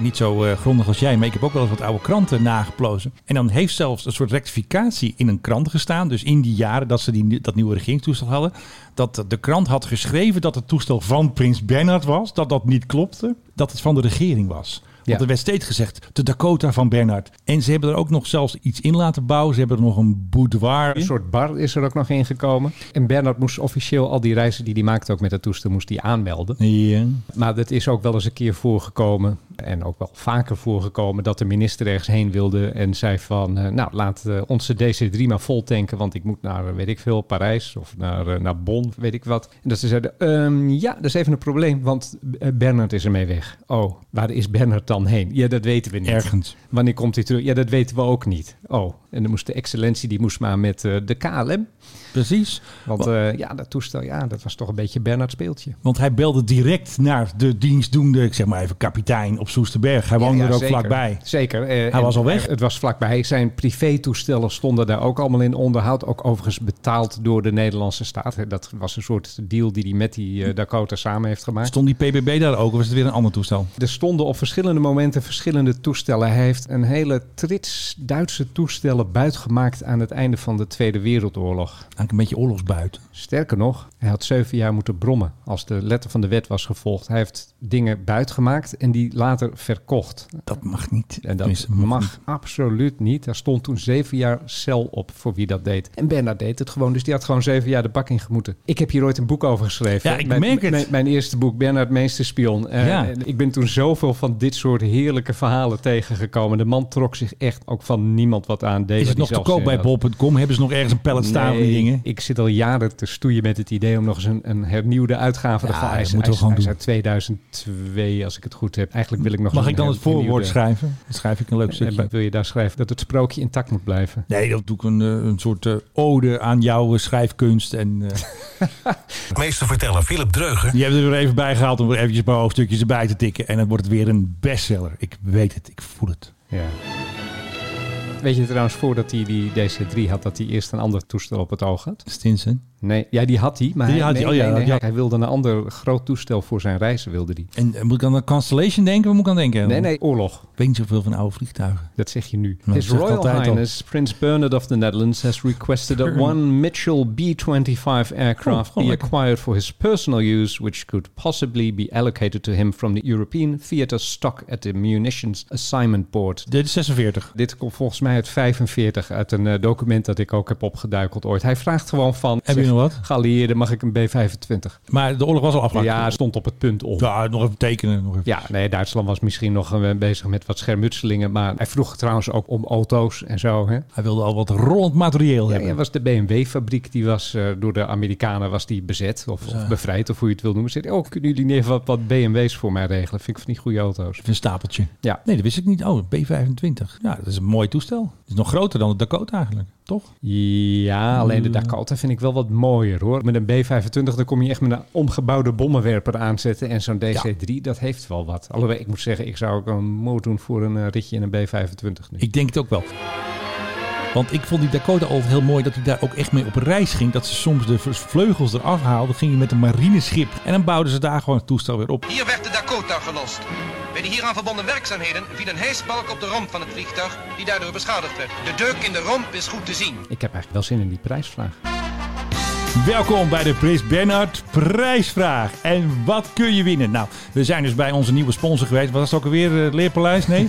Speaker 1: Niet zo eh, grondig als jij, maar ik heb ook wel eens wat oude kranten nageplozen. En dan heeft zelfs een soort rectificatie in een krant gestaan. Dus in die jaren dat ze die, dat nieuwe regeringstoestel hadden. Dat de krant had geschreven dat het toestel van prins Bernhard was. Dat dat niet klopte. Dat het van de regering was. Want
Speaker 3: Ja.
Speaker 1: er werd steeds gezegd, de Dakota van Bernhard. En ze hebben er ook nog zelfs iets in laten bouwen. Ze hebben er nog een boudoir.
Speaker 3: Een soort bar is er ook nog ingekomen. En Bernard moest officieel al die reizen die hij maakte, ook met dat toestel, moest hij aanmelden.
Speaker 1: Ja.
Speaker 3: Maar Nou, dat is ook wel eens een keer voorgekomen. En ook wel vaker voorgekomen dat de minister ergens heen wilde. En zei van, eh, nou laat eh, onze DC-3 maar vol tanken. Want ik moet naar, eh, weet ik veel, Parijs of naar, eh, naar Bonn, weet ik wat. En dat ze zeiden, ehm, ja, dat is even een probleem. Want eh, Bernard is ermee weg. Oh, waar is Bernard dan heen? Ja, dat weten we niet.
Speaker 1: Ergens.
Speaker 3: Wanneer komt hij terug? Ja, dat weten we ook niet. Oh, en dan moest de excellentie, die moest maar met eh, de KLM.
Speaker 1: Precies.
Speaker 3: Want eh, ja, dat toestel, ja, dat was toch een beetje Bernard speeltje.
Speaker 1: Want hij belde direct naar de dienstdoende, ik zeg maar even kapitein op Soesterberg. Hij woonde
Speaker 3: Ja, ja,
Speaker 1: er ook
Speaker 3: zeker.
Speaker 1: vlakbij.
Speaker 3: Zeker. eh,
Speaker 1: Hij was al weg.
Speaker 3: Het was vlakbij. Zijn privétoestellen stonden daar ook allemaal in onderhoud. Ook overigens betaald door de Nederlandse staat. Hè, Dat was een soort deal die hij met die eh, Dakota samen heeft gemaakt.
Speaker 1: Stond die PBB daar ook of was het weer een ander toestel?
Speaker 3: Er stonden op verschillende momenten verschillende toestellen. Hij heeft een hele trits Duitse toestellen buitgemaakt aan het einde van de Tweede Wereldoorlog.
Speaker 1: Eigenlijk een beetje oorlogsbuiten.
Speaker 3: Sterker nog, hij had zeven jaar moeten brommen als de letter van de wet was gevolgd. Hij heeft dingen buitgemaakt en die later verkocht.
Speaker 1: Dat mag niet.
Speaker 3: En dat
Speaker 1: Tenminste, mag
Speaker 3: mag
Speaker 1: niet.
Speaker 3: absoluut niet. Daar stond toen zeven jaar cel op voor wie dat deed. En Bernard deed het gewoon. Dus die had gewoon zeven jaar de bak in gemoeten. Ik heb hier ooit een boek over geschreven.
Speaker 1: Ja, ik
Speaker 3: mijn,
Speaker 1: merk het.
Speaker 3: Mijn, mijn eerste boek, Bernard Meesterspion. Eh,
Speaker 1: Ja.
Speaker 3: Ik ben toen zoveel van dit soort heerlijke verhalen tegengekomen. De man trok zich echt ook van niemand wat aan. Deed
Speaker 1: Is het nog
Speaker 3: wat hij
Speaker 1: te
Speaker 3: zelf
Speaker 1: koop
Speaker 3: zin
Speaker 1: bij
Speaker 3: had.
Speaker 1: bol.com? Hebben ze nog ergens een pallet staan van die
Speaker 3: eh, Nee,
Speaker 1: dingen?
Speaker 3: Ik zit al jaren te stoeien met het idee om nog eens een, een hernieuwde uitgave
Speaker 1: Ja,
Speaker 3: ervan.
Speaker 1: dat
Speaker 3: Hij is-
Speaker 1: moeten we gewoon
Speaker 3: hij is- hij is uit 2002, als ik het goed heb. Eh, Eigenlijk wil ik nog
Speaker 1: Mag
Speaker 3: een
Speaker 1: ik dan het
Speaker 3: her- hernieuwde-
Speaker 1: voorwoord schrijven? Dan schrijf ik een leuk
Speaker 3: en
Speaker 1: stukje.
Speaker 3: wil je daar schrijven dat het sprookje intact moet blijven?
Speaker 1: Nee, dat doe ik een, eh, een soort eh, ode aan jouw eh, schrijfkunst. En, eh,
Speaker 8: Meester vertellen Philip Dreugen.
Speaker 1: die hebben er weer even bij gehaald om er eventjes een paar hoofdstukjes erbij te tikken. En dan wordt het weer een bestseller. Ik weet het, ik voel het.
Speaker 3: Ja. Weet je trouwens voordat hij die DC-3 had, dat hij eerst een ander toestel op het oog had?
Speaker 1: Stinson.
Speaker 3: Nee, ja, die had hij, maar
Speaker 1: Die
Speaker 3: hij,
Speaker 1: had hij,
Speaker 3: nee,
Speaker 1: oh ja,
Speaker 3: nee, nee,
Speaker 1: ja.
Speaker 3: hij wilde een ander groot toestel voor zijn reizen, wilde die.
Speaker 1: En eh, moet ik aan de Constellation denken? Waar moet ik aan denken?
Speaker 3: Nee, nee, oorlog.
Speaker 1: Ik weet niet zoveel van oude vliegtuigen.
Speaker 3: Dat zeg je nu.
Speaker 1: Nou, dat
Speaker 3: His
Speaker 1: zegt
Speaker 3: Royal
Speaker 1: altijd al.
Speaker 3: Highness Prince Bernard of the Netherlands has requested that one Mitchell B-25 aircraft
Speaker 1: Oh, oh,
Speaker 3: be
Speaker 1: lekker.
Speaker 3: acquired for his personal use, which could possibly be allocated to him from the European theater stock at the munitions assignment board.
Speaker 1: Dit is 46.
Speaker 3: Dit komt volgens mij uit 45, uit een eh, document dat ik ook heb opgeduikeld ooit. Hij vraagt gewoon van...
Speaker 1: Heb je
Speaker 3: zeg,
Speaker 1: nog wat?
Speaker 3: Geallieerden, mag ik een B-25?
Speaker 1: Maar de oorlog was al afgelopen.
Speaker 3: Ja, stond op het punt om.
Speaker 1: Ja, nog even tekenen. Nog even.
Speaker 3: Ja, nee, Duitsland was misschien nog eh, bezig met wat schermutselingen. Maar hij vroeg trouwens ook om auto's en zo. Hè?
Speaker 1: Hij wilde al wat rollend materieel
Speaker 3: Ja,
Speaker 1: hebben.
Speaker 3: ja, was de BMW-fabriek, die was eh, door de Amerikanen was die bezet of, of bevrijd, of hoe je het wil noemen. Zei, hij, oh, kunnen jullie neer wat, wat BMW's voor mij regelen? Vind ik van die goede auto's.
Speaker 1: Even een stapeltje.
Speaker 3: Ja.
Speaker 1: Nee, dat wist ik niet. Oh, B25. Ja, dat is een mooi toestel. Het is nog groter dan de Dakota eigenlijk, toch?
Speaker 3: Ja, alleen de Dakota vind ik wel wat mooier hoor. Met een B-25 dan kom je echt met een omgebouwde bommenwerper aanzetten. En zo'n DC-3, dat heeft wel wat. Alhoewel, ik moet zeggen, ik zou ook een moord doen voor een eh, ritje in een B-25 nu.
Speaker 1: Ik denk het ook wel. Want ik vond die Dakota altijd heel mooi dat hij daar ook echt mee op reis ging. Dat ze soms de v- vleugels eraf haalden, gingen met een marineschip. En dan bouwden ze daar gewoon het toestel weer op.
Speaker 4: Hier werd de Dakota gelost. Bij de hieraan verbonden werkzaamheden viel een hijspalk op de romp van het vliegtuig, die daardoor beschadigd werd. De deuk in de romp is goed te zien.
Speaker 3: Ik heb eigenlijk wel zin in die prijsvraag.
Speaker 1: Welkom bij de Prins Bernhard prijsvraag. En wat kun je winnen? Nou, we zijn dus bij onze nieuwe sponsor geweest. Wat was het ook alweer? eh, Het Leerpaleis? Nee?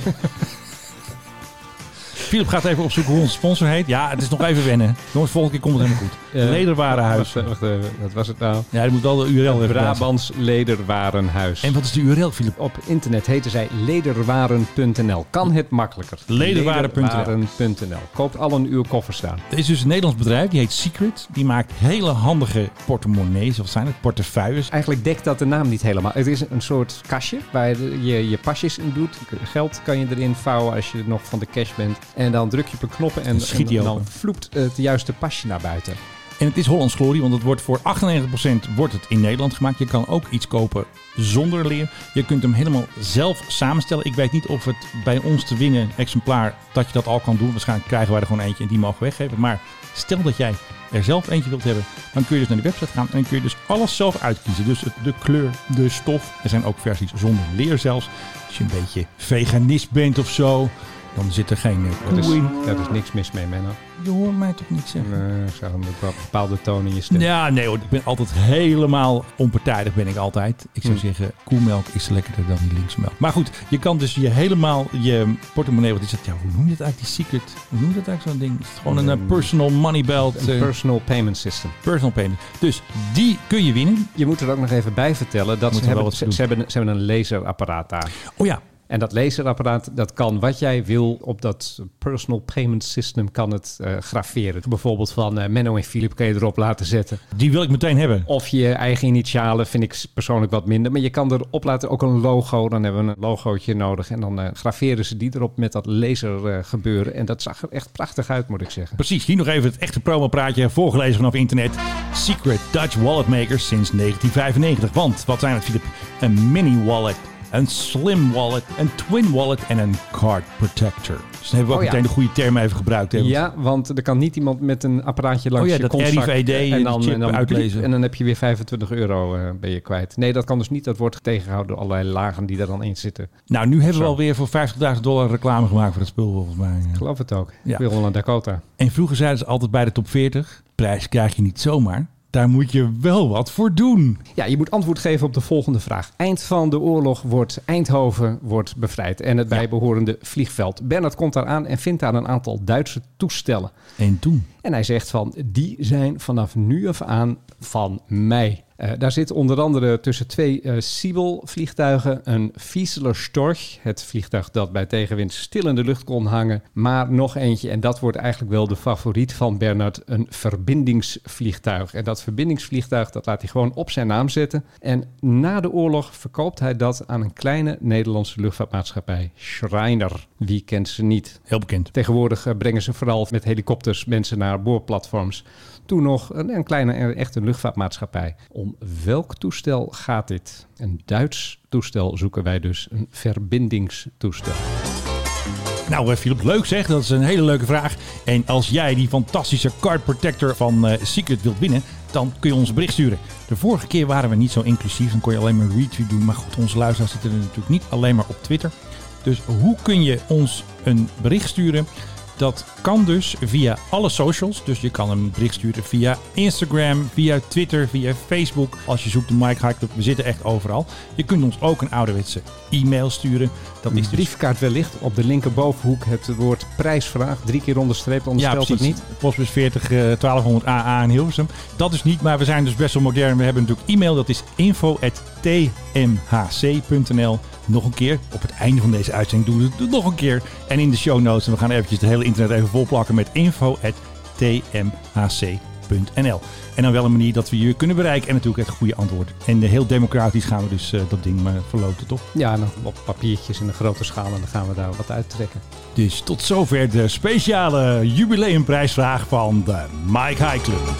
Speaker 1: Philip gaat even opzoeken hoe onze sponsor heet. Ja, het is nog even wennen. Jongens, volgende keer komt het helemaal goed.
Speaker 3: Eh,
Speaker 1: Lederwarenhuis.
Speaker 3: Wacht, eh, wacht even, wat was het nou?
Speaker 1: Ja, je moet wel de URL even plaatsen.
Speaker 3: Brabants Lederwarenhuis.
Speaker 1: En wat is de URL, Philip?
Speaker 3: Op internet heten zij lederwaren.nl. Kan het makkelijker?
Speaker 1: Lederwaren.nl.
Speaker 3: Lederwaren.nl. Koopt al een uw koffers staan.
Speaker 1: Er is dus een Nederlands bedrijf, die heet Secret. Die maakt hele handige portemonnees, of zijn het portefeuilles.
Speaker 3: Eigenlijk dekt dat de naam niet helemaal. Het is een soort kastje waar je je pasjes in doet. Geld kan je erin vouwen als je nog van de cash bent. En dan druk je op een knop en,
Speaker 1: Dan schiet die
Speaker 3: en dan
Speaker 1: open.
Speaker 3: vloept het juiste pasje naar buiten.
Speaker 1: En het is Hollands glorie, want het wordt voor 98% wordt het in Nederland gemaakt. Je kan ook iets kopen zonder leer. Je kunt hem helemaal zelf samenstellen. Ik weet niet of het bij ons te winnen exemplaar dat je dat al kan doen. Waarschijnlijk krijgen wij er gewoon eentje en die mogen we weggeven. Maar stel dat jij er zelf eentje wilt hebben, dan kun je dus naar de website gaan en dan kun je dus alles zelf uitkiezen. Dus het- de kleur, de stof. Er zijn ook versies zonder leer zelfs. Als je een beetje veganist bent of zo, dan zit er geen eh,
Speaker 3: Daar is,
Speaker 1: koe in.
Speaker 3: daar is niks mis mee, Menno.
Speaker 1: Je hoort mij toch niet zeggen?
Speaker 3: Eh, Ik zag hem ook wel een bepaalde toon in je stem.
Speaker 1: Ja, nee hoor. Ik ben altijd helemaal onpartijdig ben ik altijd. Ik zou
Speaker 3: Hm.
Speaker 1: zeggen, koemelk is lekkerder dan die linksmelk. Maar goed, je kan dus je helemaal je portemonnee... Wat is dat? Ja, hoe noem je dat eigenlijk? Die secret... Hoe noem je dat eigenlijk zo'n ding? Is het gewoon een eh, personal money belt?
Speaker 3: Een
Speaker 1: eh,
Speaker 3: personal payment system.
Speaker 1: personal payment. Dus die kun je winnen.
Speaker 3: Je moet er ook nog even bij vertellen dat
Speaker 1: Moeten
Speaker 3: ze
Speaker 1: we wel
Speaker 3: hebben,
Speaker 1: wat
Speaker 3: ze,
Speaker 1: doen.
Speaker 3: ze hebben, ze hebben een laserapparaat daar.
Speaker 1: Oh ja,
Speaker 3: En dat laserapparaat, dat kan wat jij wil op dat personal payment system kan het eh, graveren. Bijvoorbeeld van eh, Menno en Philip kan je erop laten zetten.
Speaker 1: die wil ik meteen hebben.
Speaker 3: Of je eigen initialen vind ik persoonlijk wat minder. Maar je kan erop laten ook een logo. Dan hebben we een logootje nodig. En dan eh graveren ze die erop met dat laser eh, gebeuren. En dat zag er echt prachtig uit, moet ik zeggen.
Speaker 1: Precies, hier nog even het echte promopraatje voorgelezen vanaf internet. Secret Dutch Wallet Makers sinds 1995. Want wat zijn het, Filip? Een mini wallet, een slim wallet, een twin wallet en een card protector. Dus dan hebben we ook
Speaker 3: Oh ja.
Speaker 1: meteen de goede termen even gebruikt. Hè?
Speaker 3: Ja, want er kan niet iemand met een apparaatje langs
Speaker 1: Oh ja,
Speaker 3: je
Speaker 1: dat
Speaker 3: kontzak
Speaker 1: RFID
Speaker 3: en dan,
Speaker 1: de chip
Speaker 3: en dan
Speaker 1: uitlezen.
Speaker 3: En dan heb je weer 25 euro eh, ben je kwijt. Nee, dat kan dus niet. Dat wordt tegengehouden door allerlei lagen die daar dan in zitten.
Speaker 1: Nou, nu hebben we
Speaker 3: Zo.
Speaker 1: alweer voor 50.000 dollar reclame gemaakt voor dat spul volgens mij.
Speaker 3: Ik geloof het ook.
Speaker 1: Ja.
Speaker 3: Ja. Wil naar Dakota.
Speaker 1: En vroeger zeiden ze altijd bij de top 40, prijs krijg je niet zomaar. Daar moet je wel wat voor doen.
Speaker 3: Ja, je moet antwoord geven op de volgende vraag. Eind van de oorlog wordt Eindhoven wordt bevrijd en het bijbehorende vliegveld. Bernard komt daar aan en vindt daar een aantal Duitse toestellen.
Speaker 1: En toen?
Speaker 3: En hij zegt van, die zijn vanaf nu af aan van mij. Eh, daar zit onder andere tussen twee eh Siebel-vliegtuigen een Fieseler Storch, het vliegtuig dat bij tegenwind stil in de lucht kon hangen, maar nog eentje, en dat wordt eigenlijk wel de favoriet van Bernard, een verbindingsvliegtuig. En dat verbindingsvliegtuig, dat laat hij gewoon op zijn naam zetten. En na de oorlog verkoopt hij dat aan een kleine Nederlandse luchtvaartmaatschappij, Schreiner. Wie kent ze niet?
Speaker 1: Heel bekend.
Speaker 3: Tegenwoordig eh, brengen ze vooral met helikopters mensen naar boorplatforms. Toen nog een, een kleine, eh, echt een luchtvaartmaatschappij. Om welk toestel gaat dit? Een Duits toestel zoeken wij dus, een verbindingstoestel.
Speaker 1: Nou, eh, Philip, leuk zeg. Dat is een hele leuke vraag. En als jij die fantastische card protector van eh, Secret wilt winnen, dan kun je ons een bericht sturen. De vorige keer waren we niet zo inclusief. Dan kon je alleen maar retweet doen. Maar goed, onze luisteraars zitten er natuurlijk niet alleen maar op Twitter. Dus hoe kun je ons een bericht sturen? Dat kan dus via alle socials. Dus je kan een bericht sturen via Instagram, via Twitter, via Facebook. Als je zoekt de Mike High Club, we zitten echt overal. Je kunt ons ook een ouderwetse e-mail sturen. Dat is
Speaker 3: Die
Speaker 1: dus
Speaker 3: briefkaart wellicht op de linkerbovenhoek het woord prijsvraag. Drie keer onderstreept,
Speaker 1: Ja,
Speaker 3: onderstelt
Speaker 1: precies.
Speaker 3: het niet.
Speaker 1: Postbus 40 eh, 1200 AA in Hilversum. Dat is niet, maar we zijn dus best wel modern. We hebben natuurlijk e-mail, dat is info.tmhc.nl. Nog een keer, op het einde van deze uitzending doen we het nog een keer. En in de show notes, en we gaan eventjes het hele internet even volplakken met info.tmhc.nl. En dan wel een manier dat we je kunnen bereiken en natuurlijk het goede antwoord. En eh, heel democratisch gaan we dus eh, dat ding maar verloten, toch?
Speaker 3: Ja, en dan op papiertjes in een grote schaal en dan gaan we daar wat uittrekken.
Speaker 1: Dus tot zover de speciale jubileumprijsvraag van de Mike High Club.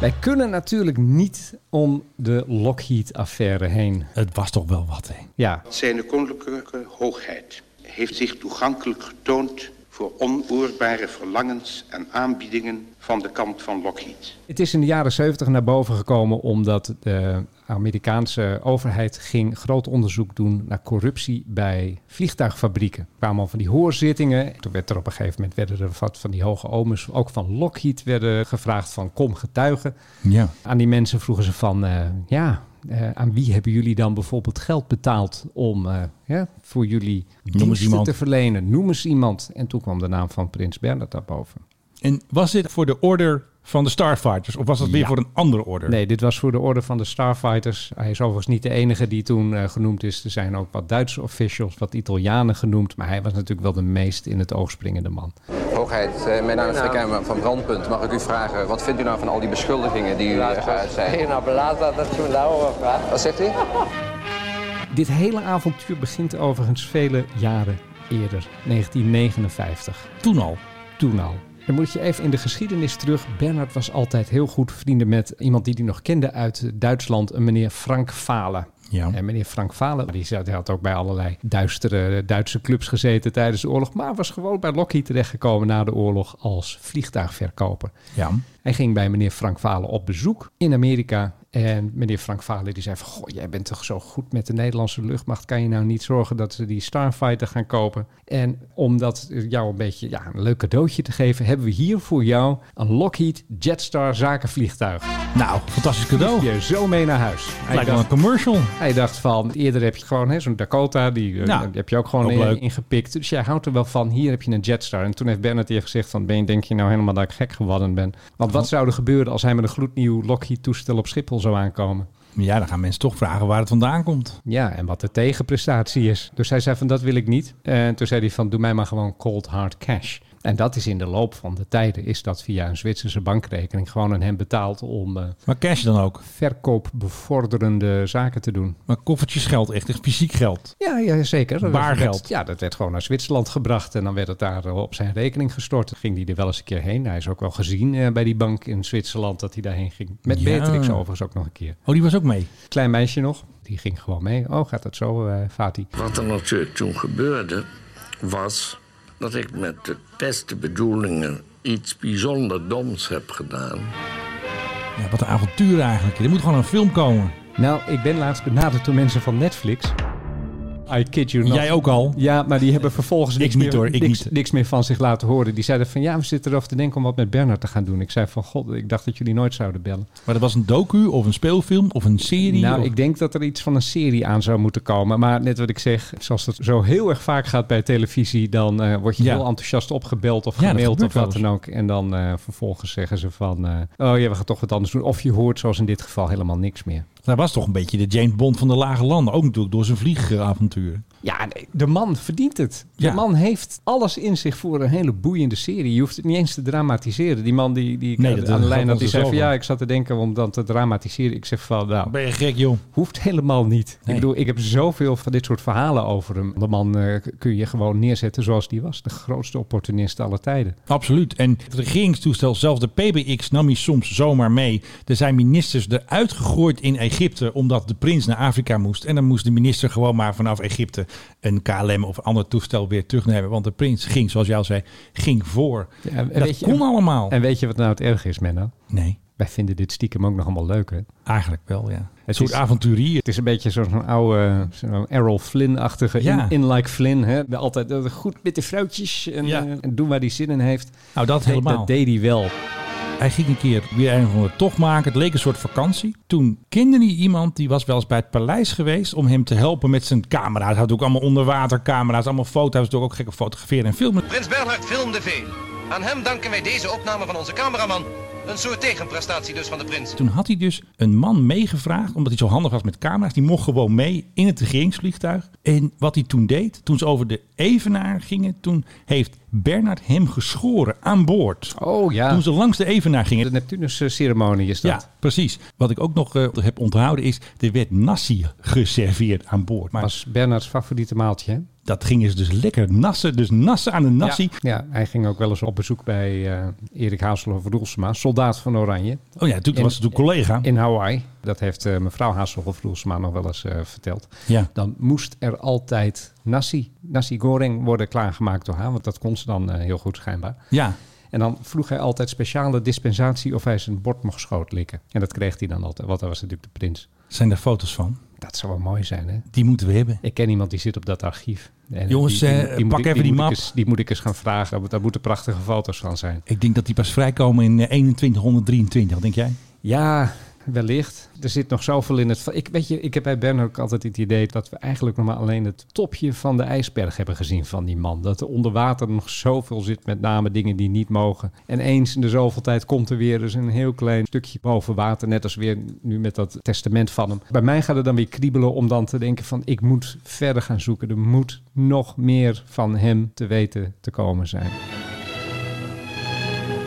Speaker 3: Wij kunnen natuurlijk niet om de Lockheed-affaire heen.
Speaker 1: Het was toch wel wat, hè?
Speaker 3: Ja,
Speaker 7: Zijn koninklijke hoogheid heeft zich toegankelijk getoond voor onoorbare verlangens en aanbiedingen van de kant van Lockheed.
Speaker 3: Het is in de jaren 70 naar boven gekomen omdat de Amerikaanse overheid ging groot onderzoek doen naar corruptie bij vliegtuigfabrieken. Er kwamen al van die hoorzittingen. Toen werd er op een gegeven moment werden er wat van die hoge omens, ook van Lockheed, werden gevraagd van kom getuigen.
Speaker 1: Ja.
Speaker 3: Aan die mensen vroegen ze van eh, ja, eh, aan wie hebben jullie dan bijvoorbeeld geld betaald om eh, ja, voor jullie diensten
Speaker 1: iemand.
Speaker 3: te verlenen? Noem eens iemand. En toen kwam de naam van Prins Bernhard daarboven.
Speaker 1: En was dit voor de order van de Starfighters? Of was dat weer
Speaker 3: Ja.
Speaker 1: voor een andere order?
Speaker 3: Nee, dit was voor de orde van de Starfighters. Hij is overigens niet de enige die toen eh, genoemd is. Er zijn ook wat Duitse officials, wat Italianen genoemd. Maar hij was natuurlijk wel de meest in het oog springende man.
Speaker 9: Hoogheid, eh, mijn naam is Rick Emmer van Brandpunt. Mag ik u vragen, wat vindt u nou van al die beschuldigingen die u eh, geuit zijn? nou Wat zegt u?
Speaker 3: Dit hele avontuur begint overigens vele jaren eerder, 1959.
Speaker 1: Toen al.
Speaker 3: Toen al. Dan moet je even in de geschiedenis terug. Bernard was altijd heel goed vrienden met iemand die hij nog kende uit Duitsland, een meneer Frank Falen.
Speaker 1: Ja.
Speaker 3: En meneer Frank Valen, die zat- die had ook bij allerlei duistere eh, Duitse clubs gezeten tijdens de oorlog. Maar was gewoon bij Lockheed terechtgekomen na de oorlog als vliegtuigverkoper.
Speaker 1: Ja.
Speaker 3: Hij ging bij meneer Frank Valen op bezoek in Amerika. En meneer Frank Valen die zei van... Goh, jij bent toch zo goed met de Nederlandse luchtmacht. Kan je nou niet zorgen dat ze die Starfighter gaan kopen? En om dat jou een beetje ja, een leuk cadeautje te geven... hebben we hier voor jou een Lockheed Jetstar zakenvliegtuig.
Speaker 1: Nou, fantastisch
Speaker 3: Doe
Speaker 1: cadeau.
Speaker 3: je zo mee naar huis. Hij
Speaker 1: Lijkt wel
Speaker 3: dacht-
Speaker 1: een commercial.
Speaker 3: hij dacht van, eerder heb je gewoon hè, zo'n Dakota, die, eh,
Speaker 1: Ja,
Speaker 3: die heb je ook gewoon
Speaker 1: ook
Speaker 3: in-
Speaker 1: leuk.
Speaker 3: ingepikt. Dus jij houdt er wel van, hier heb je een Jetstar. En toen heeft Bernard hier gezegd van, ben je, denk je nou helemaal dat ik gek geworden ben? Want
Speaker 1: Oh.
Speaker 3: wat zou er gebeuren als hij met een gloednieuw Lockheed-toestel op Schiphol zou aankomen?
Speaker 1: Ja, dan gaan mensen toch vragen waar het vandaan komt.
Speaker 3: Ja, en wat de tegenprestatie is. Dus hij zei van, dat wil ik niet. En toen zei hij van, doe mij maar gewoon cold hard cash. En dat is in de loop van de tijden, is dat via een Zwitserse bankrekening gewoon aan hem betaald om eh,
Speaker 1: Maar cash dan ook.
Speaker 3: verkoopbevorderende zaken te doen.
Speaker 1: Maar koffertjes geld, echt, echt fysiek geld.
Speaker 3: Ja, ja zeker. Dat
Speaker 1: Waar
Speaker 3: werd-
Speaker 1: geld?
Speaker 3: Ja, dat werd gewoon naar Zwitserland gebracht en dan werd het daar eh, op zijn rekening gestort. Ging hij er wel eens een keer heen. Hij is ook wel gezien eh, bij die bank in Zwitserland dat hij daarheen ging. Met
Speaker 1: Ja.
Speaker 3: Beatrix overigens ook nog een keer.
Speaker 1: Oh, die was ook mee.
Speaker 3: Klein meisje nog. Die ging gewoon mee. Oh, gaat dat zo, eh Fatih?
Speaker 10: Wat er natuurlijk toen gebeurde, was dat ik met de beste bedoelingen iets bijzonder doms heb gedaan.
Speaker 1: Ja, wat een avontuur eigenlijk. Er moet gewoon een film komen.
Speaker 3: Nou, ik ben laatst benaderd door mensen van Netflix. I kid you not.
Speaker 1: Jij ook al.
Speaker 3: Ja, maar die hebben vervolgens
Speaker 1: Ik
Speaker 3: niks,
Speaker 1: niet,
Speaker 3: meer,
Speaker 1: hoor, ik
Speaker 3: niks,
Speaker 1: niet.
Speaker 3: niks meer van zich laten horen. Die zeiden van ja, we zitten erover te denken om wat met Bernard te gaan doen. Ik zei van god, ik dacht dat jullie nooit zouden bellen.
Speaker 1: Maar dat was een docu of een speelfilm of een serie.
Speaker 3: Nou,
Speaker 1: of-
Speaker 3: ik denk dat er iets van een serie aan zou moeten komen. Maar net wat ik zeg, zoals dat zo heel erg vaak gaat bij televisie, dan eh, word je
Speaker 1: Ja.
Speaker 3: heel enthousiast opgebeld of
Speaker 1: Ja, dat
Speaker 3: gemaild
Speaker 1: gebeurt
Speaker 3: of wat
Speaker 1: wel
Speaker 3: dan ook. En dan eh, vervolgens zeggen ze van, eh, oh ja, we gaan toch wat anders doen. Of je hoort zoals in dit geval helemaal niks meer.
Speaker 1: Hij was toch een beetje de James Bond van de lage landen. Ook natuurlijk door zijn vliegavontuur.
Speaker 3: Ja, nee, de man verdient het. De
Speaker 1: Ja.
Speaker 3: man heeft alles in zich voor een hele boeiende serie. Je hoeft het niet eens te dramatiseren. Die man die, die ik
Speaker 1: Nee,
Speaker 3: aan-
Speaker 1: dat-
Speaker 3: aan de
Speaker 1: dat
Speaker 3: lijn
Speaker 1: gaat
Speaker 3: had, die
Speaker 1: ons
Speaker 3: zei
Speaker 1: zo
Speaker 3: van,
Speaker 1: wel.
Speaker 3: ja, ik zat te denken om dan te dramatiseren. Ik zeg van, nou,
Speaker 1: Ben je gek, joh?
Speaker 3: Hoeft helemaal niet.
Speaker 1: Nee.
Speaker 3: Ik bedoel, ik heb zoveel van dit soort verhalen over hem. De man eh, k- kun je gewoon neerzetten zoals die was. De grootste opportunist aller tijden.
Speaker 1: Absoluut. En het regeringstoestel, zelfs de PBX, nam hij soms zomaar mee. Er zijn ministers eruit gegooid in Egypte omdat de prins naar Afrika moest. En dan moest de minister gewoon maar vanaf Egypte een KLM of ander toestel weer terugnemen. Want de prins ging, zoals jij al zei, ging voor.
Speaker 3: Ja, en
Speaker 1: dat
Speaker 3: weet je-
Speaker 1: kon allemaal.
Speaker 3: En weet je wat nou het erg is, Menno?
Speaker 1: nee,
Speaker 3: Wij vinden dit stiekem ook nog allemaal leuk, hè?
Speaker 1: eigenlijk wel, ja. Een
Speaker 3: Het
Speaker 1: soort
Speaker 3: is-
Speaker 1: avonturier.
Speaker 3: Het is een beetje zo'n zo'n oude zo'n Errol Flynn-achtige
Speaker 1: Ja.
Speaker 3: in, in like Flynn. Hè? De Altijd eh, goed met de vrouwtjes en,
Speaker 1: Ja.
Speaker 3: eh, en doen waar hij zin in heeft.
Speaker 1: Nou, dat helemaal.
Speaker 3: Dat deed hij wel.
Speaker 1: Hij ging een keer weer een van de tocht maken. Het leek een soort vakantie. Toen kende hij iemand die was wel eens bij het paleis geweest om hem te helpen met zijn camera's. Hij had ook allemaal onderwatercamera's, allemaal foto's, Hij was natuurlijk ook gek op fotograferen en filmen.
Speaker 4: Prins Bernhard filmde veel. Aan hem danken wij deze opname van onze cameraman. Een soort tegenprestatie dus van de prins.
Speaker 1: Toen had hij dus een man meegevraagd, omdat hij zo handig was met camera's. Die mocht gewoon mee in het regeringsvliegtuig. En wat hij toen deed, toen ze over de Evenaar gingen, toen heeft Bernard hem geschoren aan boord.
Speaker 3: Oh ja,
Speaker 1: Toen ze langs de Evenaar gingen.
Speaker 3: de Neptunus-ceremonie is dat.
Speaker 1: Ja, precies. Wat ik ook nog eh, heb onthouden is, er werd nasi geserveerd aan boord. Maar
Speaker 3: was Bernards favoriete maaltje. hè?
Speaker 1: Dat gingen ze dus lekker nassen. Dus nassen aan de nassie.
Speaker 3: Ja, hij ging ook wel eens op bezoek bij eh, Erik Hazelhoff Roelsma, soldaat van Oranje,
Speaker 1: Oh ja, natuurlijk was het een collega.
Speaker 3: in Hawaii. Dat heeft eh, mevrouw Hazelhoff Roelsma nog wel eens eh, verteld.
Speaker 1: Ja.
Speaker 3: Dan moest er altijd nasi, nasi goreng worden klaargemaakt door haar, want dat kon ze dan eh, heel goed schijnbaar.
Speaker 1: ja.
Speaker 3: En dan vroeg hij altijd speciale dispensatie of hij zijn bord mocht schootlikken. En dat kreeg hij dan altijd, want hij was natuurlijk de prins.
Speaker 1: Zijn daar foto's van?
Speaker 3: Dat zou wel mooi zijn, hè?
Speaker 1: Die moeten we hebben.
Speaker 3: Ik ken iemand die zit op dat archief. En
Speaker 1: Jongens, eh,
Speaker 3: moet
Speaker 1: pak
Speaker 3: ik-
Speaker 1: even die
Speaker 3: moet ik
Speaker 1: map.
Speaker 3: eens- die moet ik eens gaan vragen. want Daar moeten prachtige foto's van zijn.
Speaker 1: Ik denk dat die pas vrijkomen in eh, 2123, denk jij?
Speaker 3: Ja, wellicht. Er zit nog zoveel in het... va- Ik, weet je, ik heb bij Ben ook altijd het idee dat we eigenlijk nog maar alleen het topje van de ijsberg hebben gezien van die man. Dat er onder water nog zoveel zit, met name dingen die niet mogen. En eens in de zoveel tijd komt er weer eens een heel klein stukje boven water. Net als weer nu met dat testament van hem. Bij mij gaat het dan weer kriebelen om dan te denken van ik moet verder gaan zoeken. Er moet nog meer van hem te weten te komen zijn.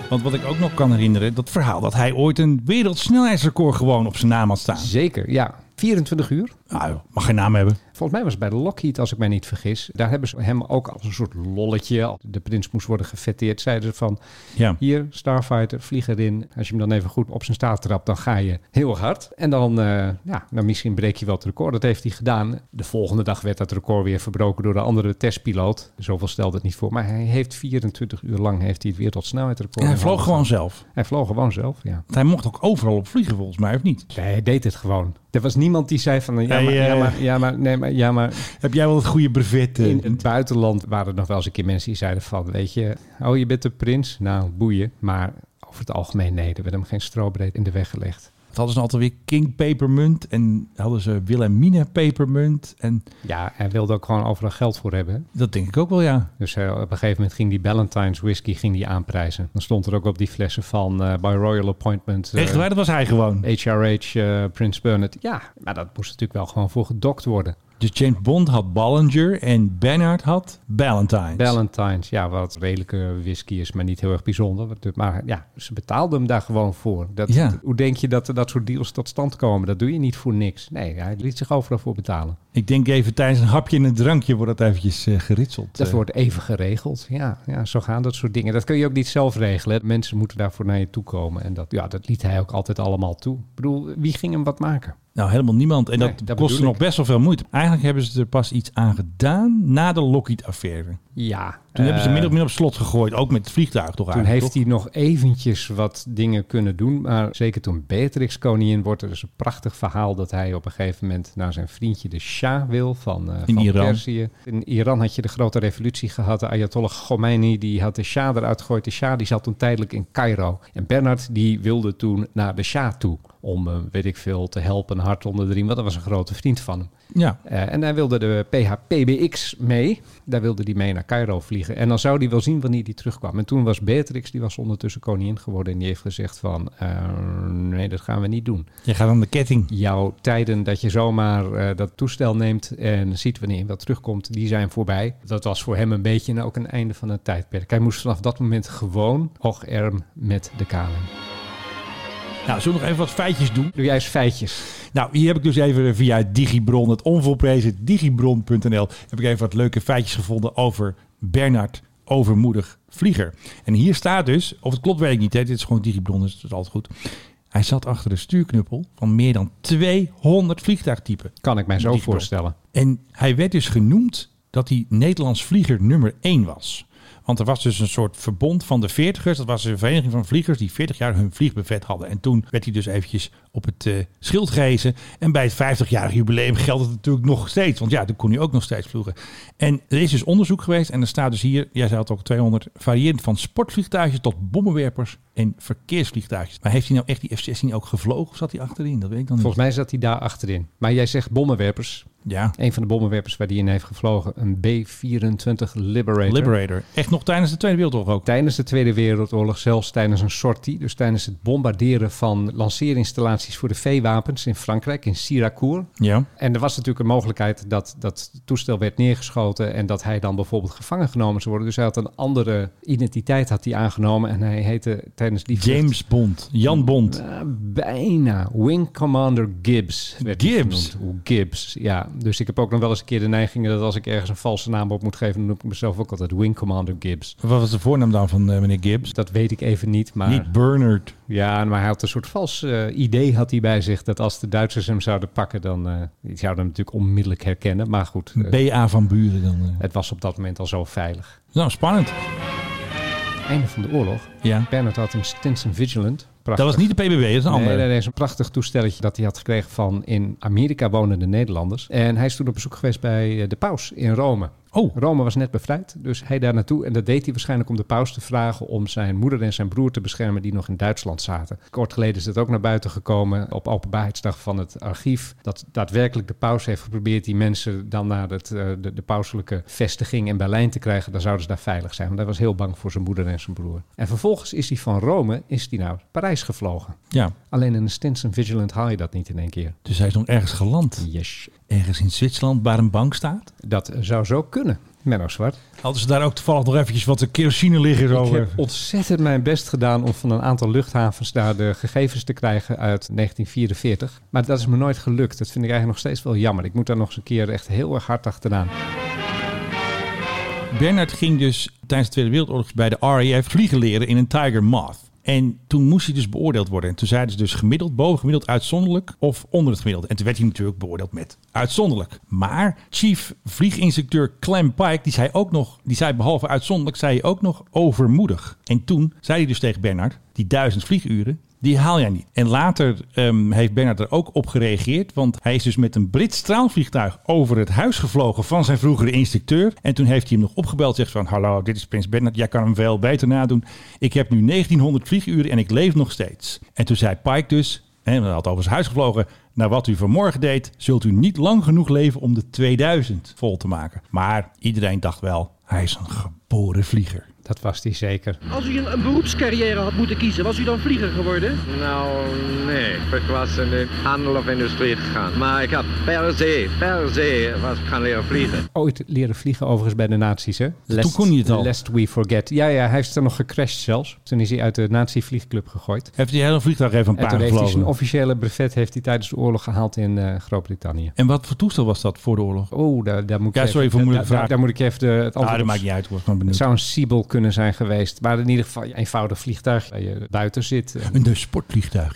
Speaker 1: Want wat ik ook nog kan herinneren, dat verhaal dat hij ooit een wereldsnelheidsrecord gewoon op zijn naam had staan.
Speaker 3: Zeker, ja. 24 uur.
Speaker 1: Nou, mag geen naam hebben.
Speaker 3: Volgens mij was het bij Lockheed, als ik mij niet vergis. Daar hebben ze hem ook als een soort lolletje. als De prins moest worden gefetteerd. Zeiden ze van,
Speaker 1: Ja.
Speaker 3: hier, Starfighter, vlieg erin. Als je hem dan even goed op zijn staart trapt, dan ga je heel hard. En dan, eh, ja, nou misschien breek je wel het record. Dat heeft hij gedaan. De volgende dag werd dat record weer verbroken door de andere testpiloot. Zoveel stelde het niet voor. Maar hij heeft 24 uur lang heeft hij het wereldsnelheidrecord.
Speaker 1: En hij
Speaker 3: in
Speaker 1: vloog gewoon
Speaker 3: handen gehad.
Speaker 1: zelf.
Speaker 3: Hij vloog gewoon zelf, ja.
Speaker 1: Want hij mocht ook overal op vliegen volgens mij, of niet?
Speaker 3: Nee, hij deed het gewoon. Er was niemand die zei van, ja,
Speaker 1: Hij,
Speaker 3: maar, ja,
Speaker 1: eh,
Speaker 3: maar, ja, maar, nee, maar, ja, maar
Speaker 1: Heb jij wel het goede brevet? eh?
Speaker 3: In het buitenland waren er nog wel eens een keer mensen die zeiden van, weet je, oh je bent de prins, nou boeien. Maar over het algemeen nee, er werd hem geen strobreed in de weg gelegd.
Speaker 1: Dat hadden ze altijd weer King Pepermunt en hadden ze Wilhelmina Pepermunt. En
Speaker 3: Ja, hij wilde ook gewoon overal geld voor hebben.
Speaker 1: dat denk ik ook wel, ja.
Speaker 3: Dus hij- op een gegeven moment ging die Ballantines whisky ging die aanprijzen. Dan stond er ook op die flessen van eh, by Royal Appointment. eh,
Speaker 1: Echt waar, dat was hij gewoon.
Speaker 3: HRH, eh Prins Bernard. Ja, maar dat moest natuurlijk wel gewoon voor gedokt worden.
Speaker 1: Dus James Bond had Ballinger en Bernard had Ballantines.
Speaker 3: Ballantines, ja, wat redelijke whisky is, maar niet heel erg bijzonder. Wat- Maar ja, ze betaalden hem daar gewoon voor. Dat,
Speaker 1: Ja.
Speaker 3: Hoe denk je dat er dat soort deals tot stand komen? Dat doe je niet voor niks. Nee, hij liet zich overal voor betalen.
Speaker 1: ik denk even tijdens een hapje en een drankje wordt dat eventjes eh, geritseld.
Speaker 3: Dat
Speaker 1: eh.
Speaker 3: wordt even geregeld. Ja, ja, zo gaan dat soort dingen. Dat kun je ook niet zelf regelen. hè. Mensen moeten daarvoor naar je toe komen. En dat, ja, dat liet hij ook altijd allemaal toe. Ik bedoel, wie ging hem wat maken?
Speaker 1: Nou, helemaal niemand. En
Speaker 3: Nee,
Speaker 1: dat,
Speaker 3: dat
Speaker 1: kostte
Speaker 3: bedoel
Speaker 1: nog
Speaker 3: ik.
Speaker 1: best wel veel moeite. Eigenlijk hebben ze er pas iets aan gedaan na de Lockheed-affaire. Toen
Speaker 3: Ja.
Speaker 1: hebben ze
Speaker 3: eh,
Speaker 1: min of meer op slot gegooid. Ook met het vliegtuig toch
Speaker 3: Toen
Speaker 1: eigenlijk,
Speaker 3: heeft hij nog eventjes wat dingen kunnen doen. Maar zeker toen Beatrix koningin wordt, er is een prachtig verhaal dat hij op een gegeven moment naar zijn vriendje de Shah wil van, eh
Speaker 1: In
Speaker 3: van
Speaker 1: Iran.
Speaker 3: Perzië. In Iran had je de grote revolutie gehad. De Ayatollah Khomeini die had de Shah eruit gegooid. De Shah die zat toen tijdelijk in Cairo. En Bernard die wilde toen naar de Shah toe. Om, eh, weet ik veel, te helpen, een hart onder de riem. Want dat was een grote vriend van hem.
Speaker 1: toch? Ja.
Speaker 3: Eh, en hij wilde de PHPBX mee. Daar wilde hij mee naar Cairo vliegen. En dan zou hij wel zien wanneer hij terugkwam. En toen was Beatrix, die was ondertussen koningin geworden. En die heeft gezegd van, eh, nee, dat gaan we niet doen.
Speaker 1: Je gaat aan de ketting.
Speaker 3: Jouw tijden dat je zomaar eh, dat toestel neemt en ziet wanneer je wel terugkomt, die zijn voorbij. Dat was voor hem een beetje nou, ook een einde van een tijdperk. Hij moest vanaf dat moment gewoon oogerm met de kaling.
Speaker 1: Nou, zullen we nog even wat feitjes doen?
Speaker 3: Doe jij eens feitjes.
Speaker 1: Nou, hier heb ik dus even via Digibron, het onvolprezen digibron.nl, heb ik even wat leuke feitjes gevonden over Bernard Overmoedig Vlieger. En hier staat dus, of het klopt weet ik niet, hè, dit is gewoon Digibron, dus dat is altijd goed. Hij zat achter de stuurknuppel van meer dan 200 vliegtuigtypen.
Speaker 3: Kan ik mij zo
Speaker 1: Die-
Speaker 3: voorstellen.
Speaker 1: En hij werd dus genoemd dat hij Nederlands vlieger nummer 1 was. Want er was dus een soort verbond van de veertigers. Dat was een vereniging van vliegers die 40 jaar hun vliegbevet hadden. En toen werd hij dus eventjes op het eh, schild gehezen. En bij het 50-jarig jubileum geldt het natuurlijk nog steeds. Want ja, toen kon hij ook nog steeds vloegen. En er is dus onderzoek geweest. En er staat dus hier, jij zei het ook, 200. Variërend van sportvliegtuigjes tot bommenwerpers en verkeersvliegtuigjes. Maar heeft hij nou echt die F-16 ook gevlogen? Of zat hij achterin? Dat weet ik dan niet.
Speaker 3: Volgens mij zat hij daar achterin. Maar jij zegt bommenwerpers.
Speaker 1: Ja,
Speaker 3: Een van de bommenwerpers waar die in heeft gevlogen, een B-24 Liberator.
Speaker 1: Liberator. Echt nog tijdens de Tweede Wereldoorlog ook.
Speaker 3: Tijdens de Tweede Wereldoorlog, zelfs tijdens een sortie, dus tijdens het bombarderen van lanceerinstallaties voor de veewapens in Frankrijk, in Syracuse.
Speaker 1: Ja.
Speaker 3: En er was natuurlijk een mogelijkheid dat dat toestel werd neergeschoten en dat hij dan bijvoorbeeld gevangen genomen zou worden. Dus hij had een andere identiteit had hij aangenomen en hij heette tijdens die vlucht-
Speaker 1: James Bond, Jan Bond.
Speaker 3: Ah, bijna. Wing Commander Gibbs. werd die
Speaker 1: Gibbs?
Speaker 3: genoemd. Gibbs, ja. dus ik heb ook nog wel eens een keer de neiging dat als ik ergens een valse naam op moet geven, dan noem ik mezelf ook altijd Wing Commander Gibbs. Dus
Speaker 1: Wat was de voornaam dan van eh, meneer Gibbs?
Speaker 3: Dat weet ik even niet, maar...
Speaker 1: Niet Bernard.
Speaker 3: Ja, maar hij had een soort vals eh, idee had hij bij zich dat als de Duitsers hem zouden pakken, dan eh die zouden hem natuurlijk onmiddellijk herkennen. Maar goed, eh,
Speaker 1: BA van Buren dan. eh.
Speaker 3: het was op dat moment al zo veilig.
Speaker 1: Nou, spannend.
Speaker 3: Einde van de oorlog.
Speaker 1: Ja.
Speaker 3: Bernard had een Stinson Vigilant.
Speaker 1: Dat was niet de PBB, dat is een
Speaker 3: Nee,
Speaker 1: ander.
Speaker 3: nee, nee, zo'n prachtig toestelletje dat hij had gekregen van in Amerika wonende Nederlanders. En hij is toen op bezoek geweest bij eh, de paus in Rome.
Speaker 1: Oh.
Speaker 3: Rome was net bevrijd, dus hij daar naartoe. En dat deed hij waarschijnlijk om de paus te vragen om zijn moeder en zijn broer te beschermen die nog in Duitsland zaten. Kort geleden is dat ook naar buiten gekomen op openbaarheidsdag van het archief. Dat daadwerkelijk de paus heeft geprobeerd die mensen dan naar het, eh, de, de pauselijke vestiging in Berlijn te krijgen. Dan zouden ze daar veilig zijn, want hij was heel bang voor zijn moeder en zijn broer. En vervolgens is hij van Rome is hij naar Parijs gevlogen.
Speaker 1: Ja,
Speaker 3: Alleen in een Stinson Vigilant haal je dat niet in één keer.
Speaker 1: dus hij is nog ergens geland.
Speaker 3: Yes.
Speaker 1: Ergens in Zwitserland, waar een bank staat.
Speaker 3: Dat zou zo kunnen, Menno Zwart.
Speaker 1: Hadden ze daar ook toevallig nog eventjes wat eh, kerosine liggen? Zo.
Speaker 3: Ik heb
Speaker 1: eh.
Speaker 3: ontzettend mijn best gedaan om van een aantal luchthavens daar de gegevens te krijgen uit 1944. Maar dat is me nooit gelukt. Dat vind ik eigenlijk nog steeds wel jammer. Ik moet daar nog eens een keer echt heel erg hard achteraan.
Speaker 1: Bernard ging dus tijdens de Tweede Wereldoorlog bij de RAF vliegen leren in een Tiger Moth. En toen moest hij dus beoordeeld worden. En toen zeiden ze dus gemiddeld, bovengemiddeld, uitzonderlijk of onder het gemiddelde. En toen werd hij natuurlijk beoordeeld met uitzonderlijk. Maar chief vlieginstructeur Clem Pike, die zei ook nog, die zei behalve uitzonderlijk, zei hij ook nog overmoedig. En toen zei hij dus tegen Bernard, die duizend vlieguren, die haal jij niet. En later ehm, heeft Bernard er ook op gereageerd. Want hij is dus met een Brits straalvliegtuig over het huis gevlogen van zijn vroegere instructeur. En toen heeft hij hem nog opgebeld. Zegt van, hallo, dit is Prins Bernard. Jij kan hem veel beter nadoen. Ik heb nu 1900 vlieguren en ik leef nog steeds. En toen zei Pike dus, hè, want hij had over zijn huis gevlogen. Na wat u vanmorgen deed, zult u niet lang genoeg leven om de 2000 vol te maken. Maar iedereen dacht wel, hij is een geboren vlieger.
Speaker 3: Dat was die zeker.
Speaker 2: Als u een, een beroepscarrière had moeten kiezen, was u dan vlieger geworden?
Speaker 9: Nou, nee. Ik was in de handel of industrie gegaan. Maar ik had per se, per se was ik gaan leren vliegen.
Speaker 3: Ooit leren vliegen overigens bij de nazi's, hè?
Speaker 1: kon hij het al.
Speaker 3: Lest we forget. Ja, ja, hij is er nog gecrashed zelfs. Toen is hij uit de nazi-vliegclub gegooid.
Speaker 1: Heeft hij hele vliegtuig even een
Speaker 3: En
Speaker 1: paar
Speaker 3: toen heeft hij zijn
Speaker 1: gevlogen.
Speaker 3: officiële brevet heeft hij tijdens de oorlog gehaald in eh, Groot-Brittannië.
Speaker 1: En wat voor toestel was dat voor de oorlog?
Speaker 3: Oh, daar, daar moet ik
Speaker 1: Ja,
Speaker 3: even-
Speaker 1: sorry voor moeilijke
Speaker 3: daar-
Speaker 1: vraag.
Speaker 3: Daar, daar moet ik even de, het antwoord
Speaker 1: Ah,
Speaker 3: op-
Speaker 1: dat maakt niet uit. Ik was gewoon
Speaker 3: Het
Speaker 1: benieuwd.
Speaker 3: zou een Siebel kunnen zijn geweest. Maar in ieder geval een eenvoudig vliegtuig waar je buiten zit. Een
Speaker 1: Een sportvliegtuig.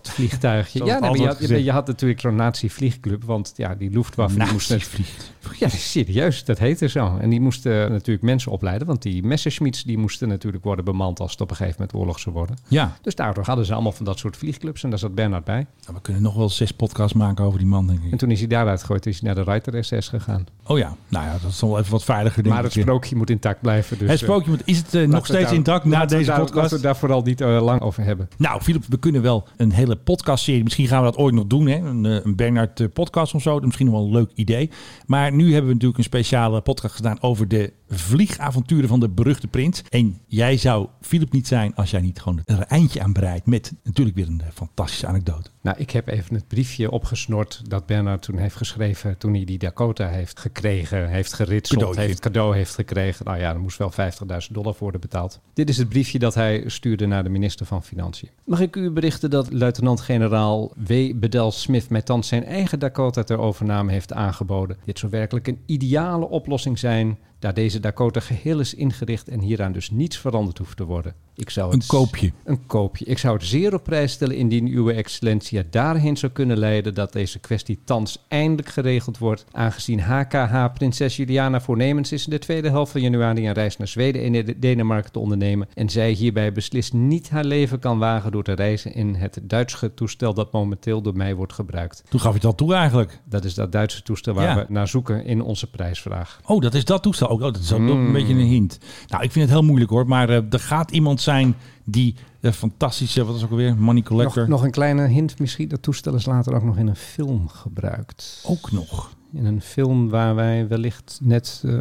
Speaker 3: sportvliegtuigje.
Speaker 1: Zoals
Speaker 3: Ja, nee, maar je,
Speaker 1: altijd
Speaker 3: had, je,
Speaker 1: gezegd.
Speaker 3: je had natuurlijk zo'n nazi-vliegclub. Want ja, die Luftwaffe
Speaker 1: Nou,
Speaker 3: die moest... net-
Speaker 1: Nazi-vliegt.
Speaker 3: Ja, serieus, dat heette zo. En die moesten natuurlijk mensen opleiden. Want die Messerschmitts die moesten natuurlijk worden bemand als het op een gegeven moment oorlog zou worden.
Speaker 1: Ja,
Speaker 3: Dus daardoor hadden ze allemaal van dat soort vliegclubs. En daar zat Bernard bij.
Speaker 1: Nou, we kunnen nog wel zes podcasts maken over die man, denk
Speaker 3: En
Speaker 1: ik.
Speaker 3: toen is hij daaruit gegooid. Toen is hij naar de Reiter SS gegaan.
Speaker 1: Oh ja, nou ja, dat is wel even wat veiliger, denk
Speaker 3: maar het
Speaker 1: ik.
Speaker 3: sprookje moet intact blijven. Dus,
Speaker 1: het
Speaker 3: eh,
Speaker 1: sprookje, want is het eh, nog
Speaker 3: laten we
Speaker 1: steeds
Speaker 3: daar-
Speaker 1: intact na
Speaker 3: laten we
Speaker 1: deze
Speaker 3: daar-
Speaker 1: podcast?
Speaker 3: Laten we daar vooral niet eh, lang over hebben.
Speaker 1: Nou, Filip, we kunnen wel een hele podcastserie. Misschien gaan we dat ooit nog doen. Hè? Een, eh, een Bernard eh, podcast of zo. Dat is misschien nog wel een leuk idee. Maar nu hebben we natuurlijk een speciale podcast gedaan over de vliegavonturen van de beruchte prins. En jij zou Filip niet zijn als jij niet gewoon er een eindje aan breidt. Met natuurlijk weer een eh, fantastische anekdote.
Speaker 3: Nou, ik heb even het briefje opgesnort dat Bernard toen heeft geschreven toen hij die Dakota heeft gekregen, heeft geritseld,
Speaker 1: Cadeautje.
Speaker 3: heeft cadeau heeft gekregen. Nou ja, er moest wel 50.000 dollar worden betaald. Dit is het briefje dat hij stuurde naar de minister van Financiën. Mag ik u berichten dat luitenant-generaal W. Bedel Smith mij thans zijn eigen Dakota ter overname heeft aangeboden. Dit zou werkelijk een ideale oplossing zijn, daar deze Dakota geheel is ingericht en hieraan dus niets veranderd hoeft te worden. Ik zou
Speaker 1: Een
Speaker 3: het
Speaker 1: koopje.
Speaker 3: Dus een koopje. Ik zou het zeer op prijs stellen indien uw excellentie het daarheen zou kunnen leiden dat deze kwestie thans eindelijk geregeld wordt. Aangezien HKH prinses Juliana voornemens is in de tweede helft van januari een reis naar Zweden en in Denemarken te ondernemen. En zij hierbij beslist niet haar leven kan wagen door te reizen in het Duitse toestel dat momenteel door mij wordt gebruikt.
Speaker 1: Toen gaf je het al toe eigenlijk.
Speaker 3: Dat is dat Duitse toestel waar
Speaker 1: Ja.
Speaker 3: we naar zoeken in onze prijsvraag.
Speaker 1: Oh, dat is dat toestel ook. Oh, dat is ook nog een beetje
Speaker 3: Hmm.
Speaker 1: een hint. Nou, ik vind het heel moeilijk hoor. Maar eh, er gaat iemand zijn die de fantastische, wat is ook alweer, Money Collector.
Speaker 3: Nog, nog een kleine hint misschien. Dat toestel is later ook nog in een film gebruikt.
Speaker 1: Ook nog.
Speaker 3: In een film waar wij wellicht net eh,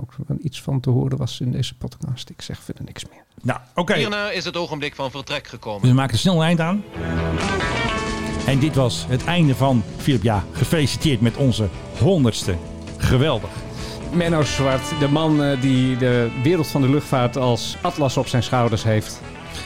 Speaker 3: ook wel iets van te horen was in deze podcast. Ik zeg verder niks meer.
Speaker 1: Nou, oké.
Speaker 4: Hierna eh, is het ogenblik van vertrek gekomen.
Speaker 1: Dus we maken er snel een eind aan. En dit was het einde van Philip. Ja, gefeliciteerd met onze honderdste. Geweldig.
Speaker 3: Menno Zwart, de man eh, die de wereld van de luchtvaart als atlas op zijn schouders heeft.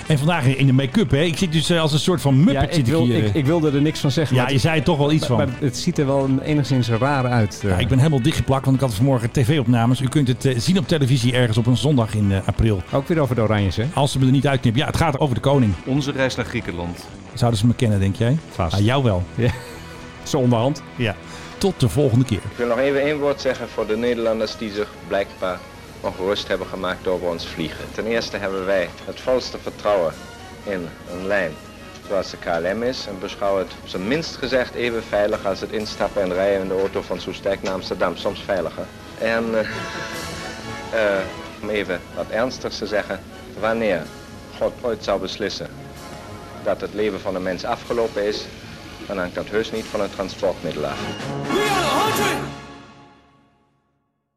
Speaker 1: En vandaag in de make-up, hè? Ik zit dus eh, als een soort van muppet
Speaker 3: Ja,
Speaker 1: zit
Speaker 3: ik,
Speaker 1: ik
Speaker 3: wil,
Speaker 1: hier. eh.
Speaker 3: ik, ik wilde er niks van zeggen.
Speaker 1: ja,
Speaker 3: maar
Speaker 1: je zei er toch wel iets van.
Speaker 3: Maar het ziet er wel een- enigszins raar uit. eh.
Speaker 1: Ja, ik ben helemaal dichtgeplakt, want ik had vanmorgen tv-opnames. U kunt het eh, zien op televisie ergens op een zondag in eh, april.
Speaker 3: Ook weer over de Oranjes, hè?
Speaker 1: Als ze me er niet uitknippen. Ja, het gaat over de koning.
Speaker 11: Onze reis naar Griekenland.
Speaker 1: Zouden ze me kennen, denk jij?
Speaker 3: Vast.
Speaker 1: Ah, jou wel.
Speaker 3: Ja. Zo onderhand.
Speaker 1: Ja. Tot de volgende keer.
Speaker 4: Ik wil nog even één woord zeggen voor de Nederlanders die zich blijkbaar ongerust hebben gemaakt over ons vliegen. Ten eerste hebben wij het volste vertrouwen in een lijn zoals de KLM is en beschouwen het op zijn minst gezegd even veilig als het instappen en rijden in de auto van Soestdijk naar Amsterdam, soms veiliger. En eh, eh, om even wat ernstigs te zeggen, wanneer God ooit zou beslissen dat het leven van een mens afgelopen is, dan hangt dat heus niet van een transportmiddel af.
Speaker 2: We are the hunted!